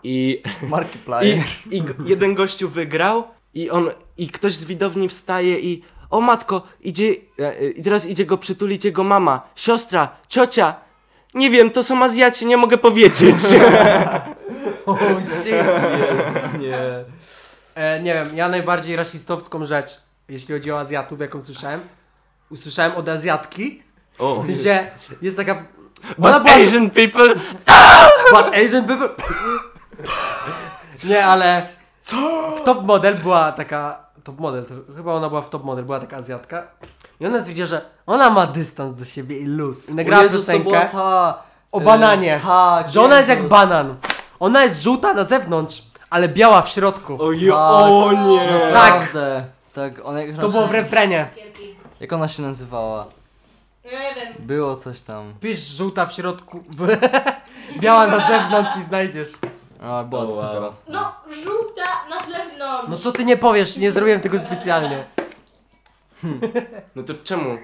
I, i, Markiplier. i g- jeden gościu wygrał i on, i ktoś z widowni wstaje i o matko, idzie, e, e, i teraz idzie go przytulić jego mama, siostra, ciocia. Nie wiem, to są Azjaci, nie mogę powiedzieć. O, Jezus, nie. E, nie wiem, ja najbardziej rasistowską rzecz, jeśli chodzi o Azjatów, jaką słyszałem, usłyszałem od Azjatki, O. że jest taka... But Ona była... Asian people... But Asian people... nie, ale... Co? W Top Model była taka... Top Model, to chyba ona była w Top Model, była taka Azjatka. I ona stwierdziła, że ona ma dystans do siebie i luz. I nagrała Jezus, to była piosenkę ta... o e, bananie. tak, Że ona jest jak Jezus. banan. Ona jest żółta na zewnątrz, ale biała w środku. Oje, o Tak. nie! Naprawdę. Tak, ona jak To było w refrenie. Cukierki. Jak ona się nazywała? No nie wiem. Było coś tam. Pisz żółta w środku, biała na zewnątrz i znajdziesz. A, była O, wow. taka. No, żółta na zewnątrz. No co ty nie powiesz, nie zrobiłem tego specjalnie. No to czemu?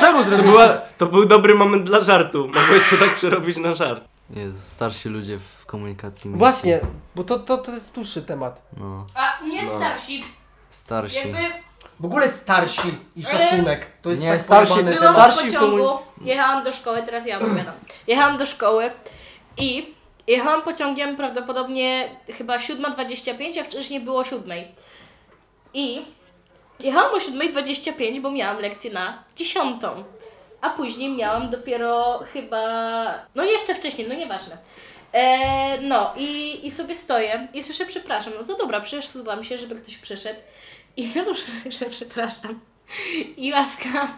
Czemu To, zrobiłeś? była, to był dobry moment dla żartu. Mogłeś to tak przerobić na żart. Jezu, starsi ludzie w komunikacji. miejskiej. Właśnie, bo to, to, to jest dłuższy temat. No, A nie No. starsi, starsi. jakby W ogóle starsi i szacunek. To jest Nie, tak starsi- pojebany Byłam temat. w Starsi pociągu, jechałam do szkoły, teraz ja opowiadam. Jechałam do szkoły i jechałam pociągiem prawdopodobnie chyba 7.25, a wcześniej było 7.00. I jechałam o 7.25, bo miałam lekcję na 10. A później miałam dopiero chyba. No jeszcze wcześniej, no nieważne. E, no i, i sobie stoję i słyszę, przepraszam. No to dobra, przesuwam się, żeby ktoś przyszedł. I znowu słyszę, przepraszam. I laska,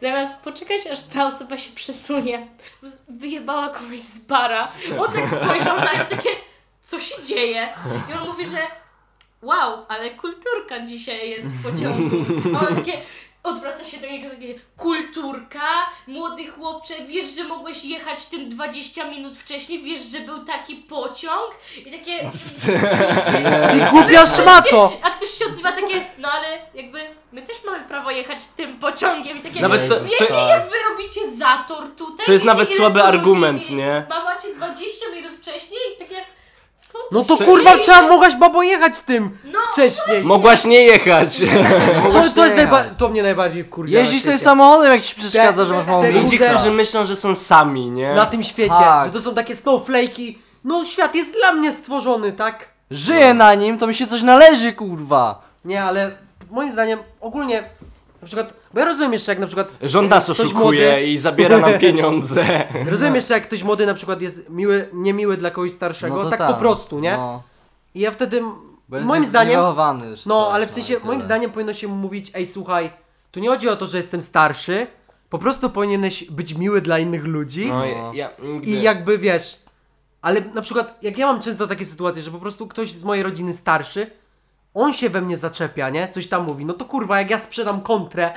zamiast poczekać, aż ta osoba się przesunie, z- wyjebała kogoś z bara. On tak spojrzał na nią, takie, co się dzieje? I on mówi, że wow, ale kulturka dzisiaj jest w pociągu. A on takie, odwraca się do niego, takie, kulturka? Młody chłopcze, wiesz, że mogłeś jechać tym 20 minut wcześniej? Wiesz, że był taki pociąg? I takie... Ty głupia szmato! A ktoś się odzywa takie, no ale jakby my też mamy prawo jechać tym pociągiem i takie. Nawet to, Wiecie, to, jak wy robicie zator tutaj? To jest Wiecie, nawet ile słaby tu ludzi argument, mi- nie? Ma macie 20 minut wcześniej i takie. Co tu No to się kurwa dzieje? trzeba, mogłaś babo jechać tym No, wcześniej. mogłaś nie jechać. To, to jest najba... to mnie najbardziej wkurwia. na Jeździsz sobie świecie. samochodem, jak ci przeszkadza, że masz mało Te- te- Ludzi, miejsca. Kurde. którzy myślą, że są sami, nie? Na tym świecie, Tak. że to są takie snowflake'i. No świat jest dla mnie stworzony, tak? Żyję na nim, to mi się coś należy, kurwa. Nie, ale moim zdaniem ogólnie na przykład, bo ja rozumiem jeszcze jak na przykład Rząd nas ktoś oszukuje i zabiera nam pieniądze. No. rozumiem jeszcze jak ktoś młody na przykład jest miły, niemiły dla kogoś starszego, No to tak ta. po prostu, nie? No, I ja wtedy bo jest moim nie- zdaniem, niewychowany już no tak, ale w no, sensie i moim tyle. zdaniem powinno się mówić, ej słuchaj, tu nie chodzi o to, że jestem starszy, po prostu powinieneś być miły dla innych ludzi. No, ja, ja nigdy... I jakby wiesz, ale na przykład jak ja mam często takie sytuacje, że po prostu ktoś z mojej rodziny starszy, on się we mnie zaczepia, nie? Coś tam mówi. No to kurwa, jak ja sprzedam kontrę,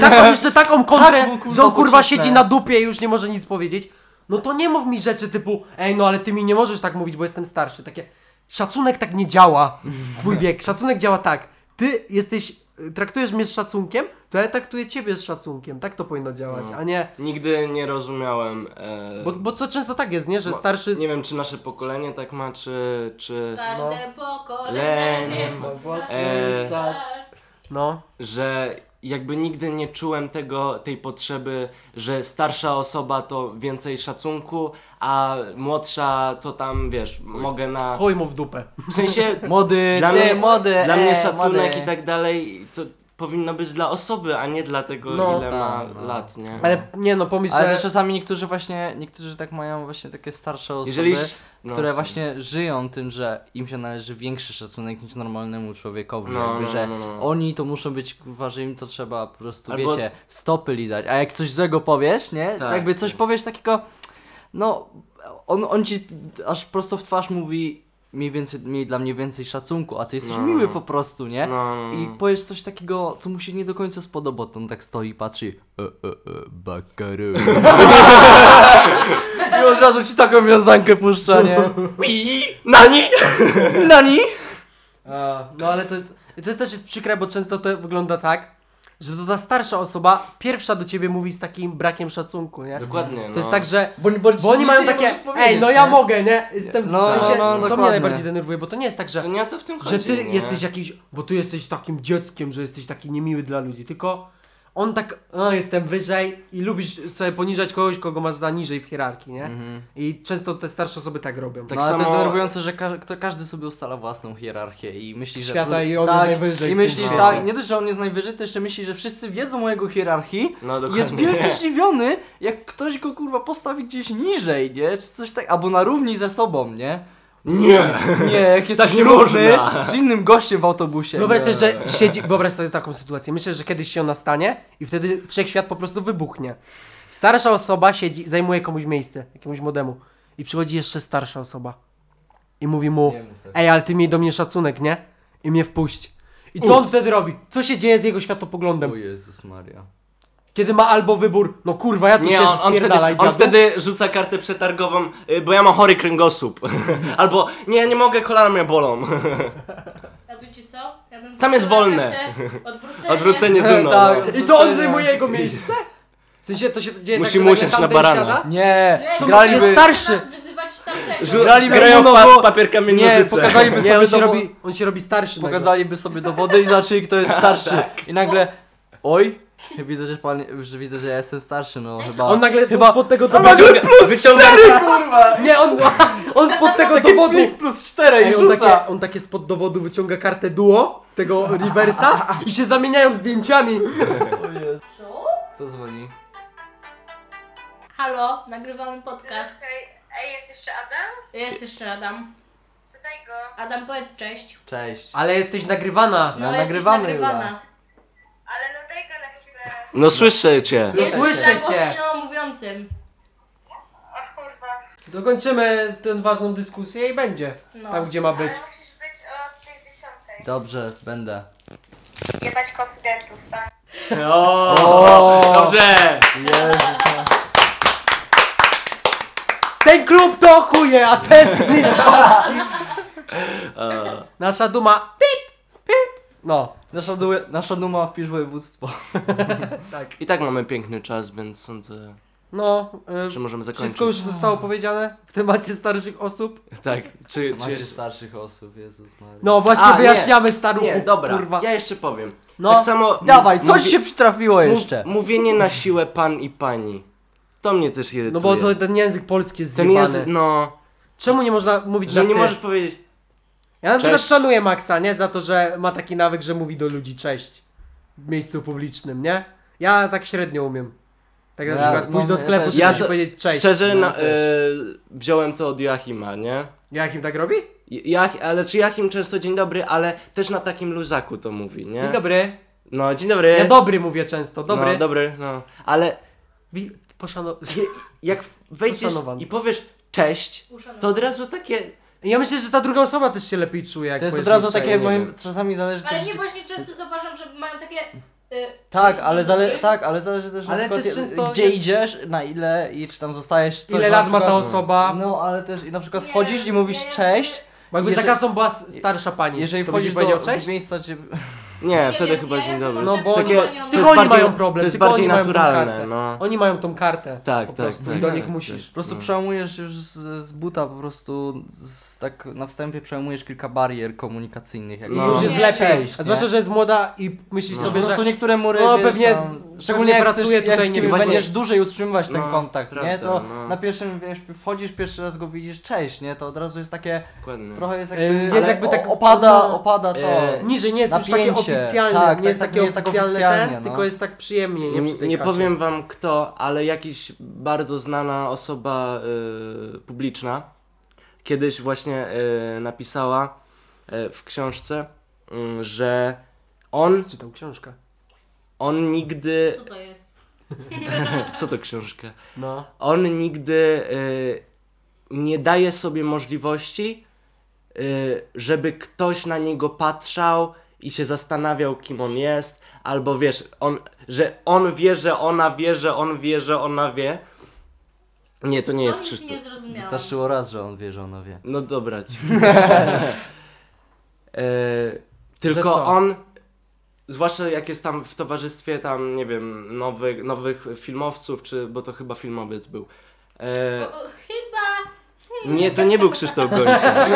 taką jeszcze taką kontrę, Tak mu, kurwa, że on kurwa pocisnę. siedzi na dupie i już nie może nic powiedzieć, no to nie mów mi rzeczy typu, ej no ale ty mi nie możesz tak mówić, bo jestem starszy. Takie, szacunek tak nie działa, twój wiek. Szacunek działa tak, ty jesteś, traktujesz mnie z szacunkiem, to ja traktuję ciebie z szacunkiem. Tak to powinno działać, No. a nie... Nigdy nie rozumiałem... E... Bo, bo to często tak jest, nie? Że Bo- starszy Nie wiem, czy nasze pokolenie tak ma, czy... No. czy... Tak. Każde Leniem. pokolenie. E... No. że jakby nigdy nie czułem tego, tej potrzeby, że starsza osoba to więcej szacunku, a młodsza to tam, wiesz, mogę na... Chuj mu w dupę. W sensie Młody, Dla ty, mnie- młody, dla e, mnie szacunek młody. i tak dalej, to powinno być dla osoby, a nie dla tego, No, ile ma tak, no. lat, nie? Ale nie no, pomyśl, Ale że... też czasami niektórzy właśnie, niektórzy tak mają właśnie takie starsze osoby, Jeżeli... no, które sorry. właśnie żyją tym, że im się należy większy szacunek niż normalnemu człowiekowi, No, jakby, no, że no, no. oni to muszą być, kurwa, że im to trzeba po prostu, Albo- wiecie, stopy lizać, a jak coś złego powiesz, nie, Tak. jakby coś powiesz takiego, no, on, on ci aż prosto w twarz mówi mniej więcej, miej dla mnie więcej szacunku, a ty jesteś No. miły po prostu, nie, No, no, i no. powiesz coś takiego, co mu się nie do końca spodoba, to on tak stoi i patrzy e, e, e, bakaru. I od razu ci taką wiązankę puszcza, nie? no. Nani! Nani? A, no ale to, to też jest przykre, bo często to wygląda tak, że to ta starsza osoba pierwsza do ciebie mówi z takim brakiem szacunku, nie? Dokładnie, To no. jest tak, że... Bo, Bo oni mają takie, ej, no ja mogę, nie? Jestem, No, w sensie, no, no, to dokładnie. mnie najbardziej denerwuje, bo to nie jest tak, że No, To nie o to w tym chodzi, że ty nie? jesteś jakimś, bo ty jesteś takim dzieckiem, że jesteś taki niemiły dla ludzi, tylko on tak, no jestem wyżej i lubisz sobie poniżać kogoś, kogo masz za niżej w hierarchii, nie? Mhm. I często te starsze osoby tak robią. Tak no, ale to samo- jest denerwujące, że każ- to każdy sobie ustala własną hierarchię i myśli, że... Świata pro- i on jest najwyżej I w myśli, tym że świecie. tak, nie dość, że on jest najwyżej, to jeszcze myśli, że wszyscy wiedzą o jego hierarchii No, i dokładnie. jest wielce zdziwiony, jak ktoś go kurwa postawi gdzieś niżej, nie? Czy coś tak, albo na równi ze sobą, nie? Nie! Nie, jak jesteś nie równy można. z innym gościem w autobusie. Wyobraź nie? sobie, że siedzi, wyobraź sobie taką sytuację. Myślę, że kiedyś się ona stanie i wtedy wszechświat po prostu wybuchnie. Starsza osoba siedzi, zajmuje komuś miejsce, jakiemuś młodemu. I przychodzi jeszcze starsza osoba. I mówi mu, Nie mów tak. ej, ale ty miej do mnie szacunek, nie? I mnie wpuść. I co on wtedy robi? Co się dzieje z jego światopoglądem? O Jezus Maria. Kiedy ma albo wybór, no kurwa, ja tu Nie, się on, on, wtedy, spierdalaj, on dziadu. wtedy rzuca kartę przetargową, y, bo ja mam chory kręgosłup. Albo nie, nie mogę, kolana mnie bolą. A wiecie co? Ja bym Tam jest wzięła wolne. kartę, Odwrócenie. Odwrócenie z mną. Tak. No. I to on zajmuje jego miejsce? W sensie to się dzieje Musi tak, że musieć nagle tamten na barana. siada? Nie, Jest graliby... star- starszy. Wyzywać tamtego. Żu- Graliby grają równo, pa- bo- papier, kamień, Nie, nożyce. pokazaliby Nie, sobie on się, dowo- robi, on się robi starszy. nagle. Pokazaliby sobie dowody i zobaczyli kto jest starszy. I nagle, oj, widzę, że pan, że widzę, że ja jestem starszy, no chyba... On nagle Chyba- spod tego dowodu... Wyciąga... Nie, on, on spod tego dowodu... plus 4 Ej, on, takie, on takie spod dowodu wyciąga kartę duo, tego reversa i się zamieniają zdjęciami. Co? Kto dzwoni? Halo, nagrywamy podcast. Czekaj, ej, jest jeszcze Adam? Jest jeszcze Adam. Czytaj go. Adam, powiedz cześć. Cześć. Ale jesteś nagrywana. No, jesteś nagrywamy, nagrywana. Ale no daj go na chwilę. No słyszę cię. Jesteś słyszę cię. głośno mówiącym. O kurwa. Dokończymy tę ważną dyskusję i będzie. No. Tam gdzie ma Ale być. musisz być od tej dziesiątej. Dobrze, będę. Jebać konfidentów, tak? Dobrze! Ten klub to chuje, a ten list polski. Nasza duma. Pip, pip. No. Nasza, due, nasza duma wpisz województwo. I tak mamy piękny czas, więc sądzę, No. y, że możemy zakończyć. wszystko już zostało powiedziane w temacie starszych osób. Tak, czy... czy Macie starszych osób, Jezus Maria. No właśnie A, nie. wyjaśniamy staruchów. Nie, dobra, Kurwa. ja jeszcze powiem. No, tak samo... Dawaj, m- coś mówi- się przytrafiło mów- jeszcze. Mówienie na siłę pan i pani. To mnie też irytuje. No bo to ten język polski jest Ten zjebany. jest, no... Czemu nie można mówić Że na nie ty? możesz powiedzieć... Ja na przykład Cześć. szanuję Maxa, nie? Za to, że ma taki nawyk, że mówi do ludzi cześć. W miejscu publicznym, nie? Ja tak średnio umiem. Tak na Ja- przykład no, pójść do ja sklepu, też. żeby Ja ci to- powiedzieć cześć. Szczerze, no na, też. e, wziąłem to od Joachima, nie? Jakim tak robi? Ja, ale czy Joachim często dzień dobry, ale też na takim luzaku to mówi, nie? Dzień dobry. No, dzień dobry. Ja dobry mówię często, dobry. No, dobry, no. Ale Wi- Poszano... je, jak wejdziesz Poszanowany. i powiesz cześć, Uszanowany. to od razu takie... Ja myślę, że ta druga osoba też się lepiej czuje, jak To jest od powiesz jej razu takie, cześć. moim, czasami zależy Ale też... nie właśnie często zauważam, że mają takie. y, Tak, dzień ale zale, dobry. tak, ale zależy też na Ale przykład, też je- często gdzie jest- idziesz, na ile i czy tam zostajesz, coś Ile na lat ma ta przykład- osoba? No, ale też i na przykład Nie, wchodzisz i mówisz ja- ja- cześć, Bo jakby Jeżeli- za kasą była s- starsza pani, jeżeli to wchodzisz byś powiedział do, cześć? do miejsca, gdzie... Nie, Ja wtedy wiem, chyba ja- ja dzień chyba dobry. mam No tak bo Takie- zrobione. to Tylko jest oni bardziej- mają problem, to jest tylko bardziej oni mają tą naturalne, kartę. no. Oni mają tą kartę. Tak, po tak, prostu, tak, I do tak, nich tak. musisz. Po prostu przełamujesz już z, z buta, po prostu z, tak na wstępie przełamujesz kilka barier komunikacyjnych. Jak I I No. już jest Nie, lepiej. cześć, A zwłaszcza, nie? że jest młoda i myślisz Że sobie, po że... prostu niektóre mury, No, wiesz, pewnie- tam, pewnie szczególnie jak pracuje chcesz, tutaj, jak nie nie wiem, będziesz właśnie- dłużej utrzymywać ten No, kontakt, nie? prawda, To no. na pierwszym, wiesz, wchodzisz pierwszy raz go widzisz, cześć, nie? To od razu jest takie, Dokładnie. trochę jest Ym, jakby, jest ale jakby tak- o, opada, no. opada to. E, Niżej nie jest już takie Napięcie, oficjalne, tak, nie tak, jest tak, takie nie jest tak oficjalne oficjalnie, ten, no. tylko jest tak przyjemnie, nie przy tej Nie kasie. powiem wam kto, ale jakiś bardzo znana osoba y, publiczna kiedyś właśnie y, napisała y, w książce, y, że on, Czytał książkę. on nigdy. Co to jest? Co to książka? No. On nigdy y, nie daje sobie możliwości, y, żeby ktoś na niego patrzał i się zastanawiał, kim on jest, albo wiesz, on, że on wie, że ona wie, że on wie, że ona wie. Nie, to nie Co jest nic Krzysztof. nie zrozumiałam. Wystarczyło raz, że on wie, że ona wie. No dobra. ci- e, tylko co? on, zwłaszcza jak jest tam w towarzystwie tam, nie wiem, nowych, nowych filmowców, czy, bo to chyba filmowiec był. O, E, o, No, chyba... nie, to nie był Krzysztof Gońca.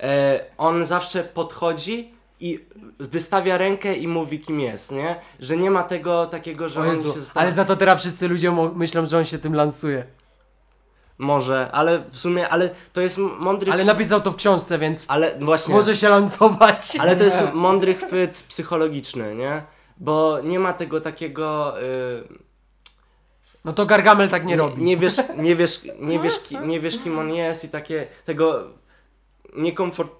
E, on zawsze podchodzi i wystawia rękę i mówi kim jest, nie? Że nie ma tego takiego, że O on Jezu, się zastanawia. ale za to teraz wszyscy ludzie mo- myślą, że on się tym lansuje. Może, ale w sumie, ale to jest mądry... Ale napisał to w książce, więc ale właśnie... może się lansować. Ale to jest mądry chwyt psychologiczny, nie? Bo nie ma tego takiego. y, No to Gargamel tak nie robi. Nie wiesz, nie wiesz, nie wiesz, ki, nie wiesz kim on jest i takie tego niekomfort,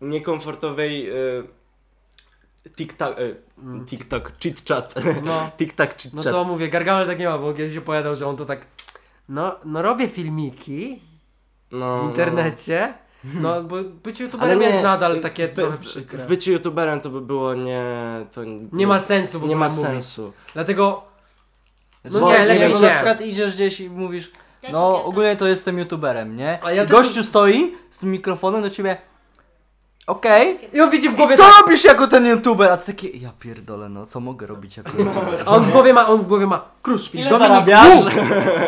niekomfortowej y, TikTok, y, TikTok, chit chat, Mm. No. TikTok, chit No chat. to mówię, Gargamel tak nie ma, bo kiedyś opowiadał, że on to tak. No, no robię filmiki no, w internecie. No, bo bycie Ale youtuberem nie, jest nadal takie w, trochę w, przykre. w byciu youtuberem to by było nie, to nie, nie ma sensu w ogóle nie ma mówić. sensu. Dlatego Znaczy, No nie, nie, lepiej lepiej nie. nie. Na przykład idziesz gdzieś i mówisz, Ja ci no pierdolę. ogólnie to jestem youtuberem, nie? A ja I też- gościu stoi z tym mikrofonem do ciebie, okej, i on widzi w głowie co tak, robisz jako ten youtuber? A ty taki, ja pierdolę, no co mogę robić jako youtuber? a on w głowie ma, on w głowie ma Kruszwil, Ile Dominik zarabiasz? Bóg!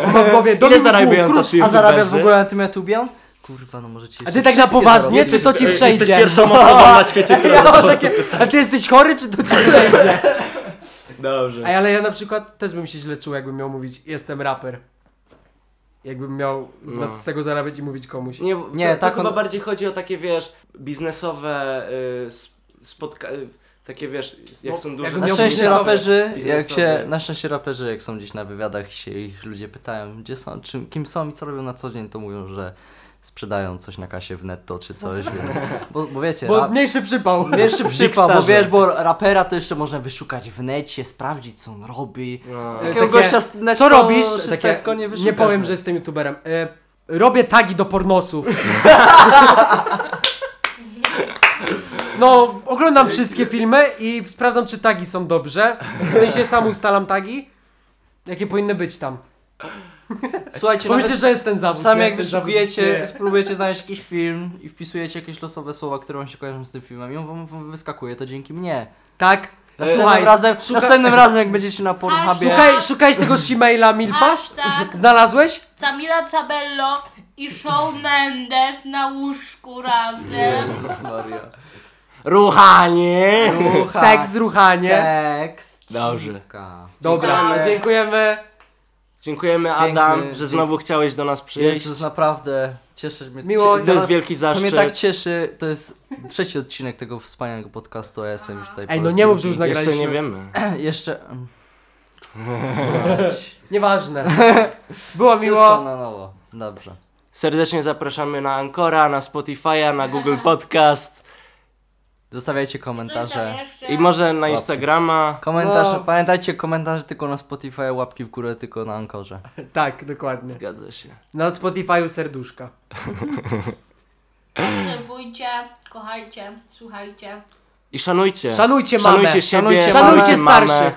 On ma w głowie Ile Dominik zarabiają Bóg, Kruszwil. tacy A zarabiasz w youtuberzy? ogóle na tym YouTubie? Kurwa, no możecie A ty tak na poważnie, czy to ci Jesteś- przejdzie? Jesteś pierwszą osobą na świecie, Ja która... mam takie, a ty jesteś chory, czy to ci przejdzie? Dobrze. Ej, ale ja na przykład też bym się źle czuł, jakbym miał mówić, jestem raper. Jakbym miał z, No. z tego zarabiać i mówić komuś. Nie, Nie, to, tak to chyba on- bardziej chodzi o takie, wiesz, biznesowe y, sp- spotka... y, Takie, wiesz, jak No, są duże... jakbym Na miał szczęście biznesowe- raperzy, jak biznesowe. się, na szczęście raperzy, jak są gdzieś na wywiadach i się ich ludzie pytają, gdzie są, czym, kim są i co robią na co dzień, to mówią, że sprzedają coś na kasie w netto czy coś, więc, bo, bo wiecie, Bo rap- mniejszy przypał. Pierwszy przypał, bo starze. wiesz, bo rapera to jeszcze można wyszukać w necie, sprawdzić co on robi. No. Takiego Takie, gościa z netto, Co robisz? czy z Takie, Tesco nie nie wyszukasz, powiem, no. że jestem youtuberem. E, robię tagi do pornosów. No, oglądam wszystkie filmy i sprawdzam, czy tagi są dobrze. W sensie sam ustalam tagi, jakie powinny być tam. Słuchajcie, Bo nawet myślę, że jest ten zawód. sami nie? jak Ten zawód wyszukujecie, istnieje. spróbujecie znaleźć jakiś film i wpisujecie jakieś losowe słowa, które wam się kojarzą z tym filmem i on wam- wam wyskakuje, to dzięki mnie. Tak? Następnym razem, następnym razem jak będziecie na Pornhubie... Szukaj, szukałeś tego Shimaila Milfa? Hashtag Znalazłeś? Camila Cabello i Shawn Mendes na łóżku razem. Jezus Maria. Ruchanie! Rucha, Seks, ruchanie. Seks. Dobrze. cipka. Dobra, dziękujemy. Dziękujemy Piękny, Adam, że dzięki. znowu chciałeś do nas przyjść. Jezus, naprawdę, cieszę mnie. Miło, cie- To jest wielki To mnie zaszczyt. tak cieszy, to jest trzeci odcinek tego wspaniałego podcastu, a ja jestem już tutaj Ej, po no raz nie mów, drugi. że już Jeszcze nagraliśmy. nie wiemy. Jeszcze... mm. Nieważne. Było Miło. miło. Na nowo. Dobrze. Serdecznie zapraszamy na Ancora, na Spotify'a, na Google Podcast Zostawiajcie Coś tam komentarze. jeszcze. i może na Instagrama. Komentarze, No. pamiętajcie, komentarze tylko na Spotify, łapki w górę tylko na Ankorze. Tak, dokładnie. Zgadza się. Na Spotify'u serduszka. Obserwujcie, kochajcie, słuchajcie. I szanujcie. Szanujcie mamę. Szanujcie siebie, Szanujcie mamę, Szanujcie mamę. starszych.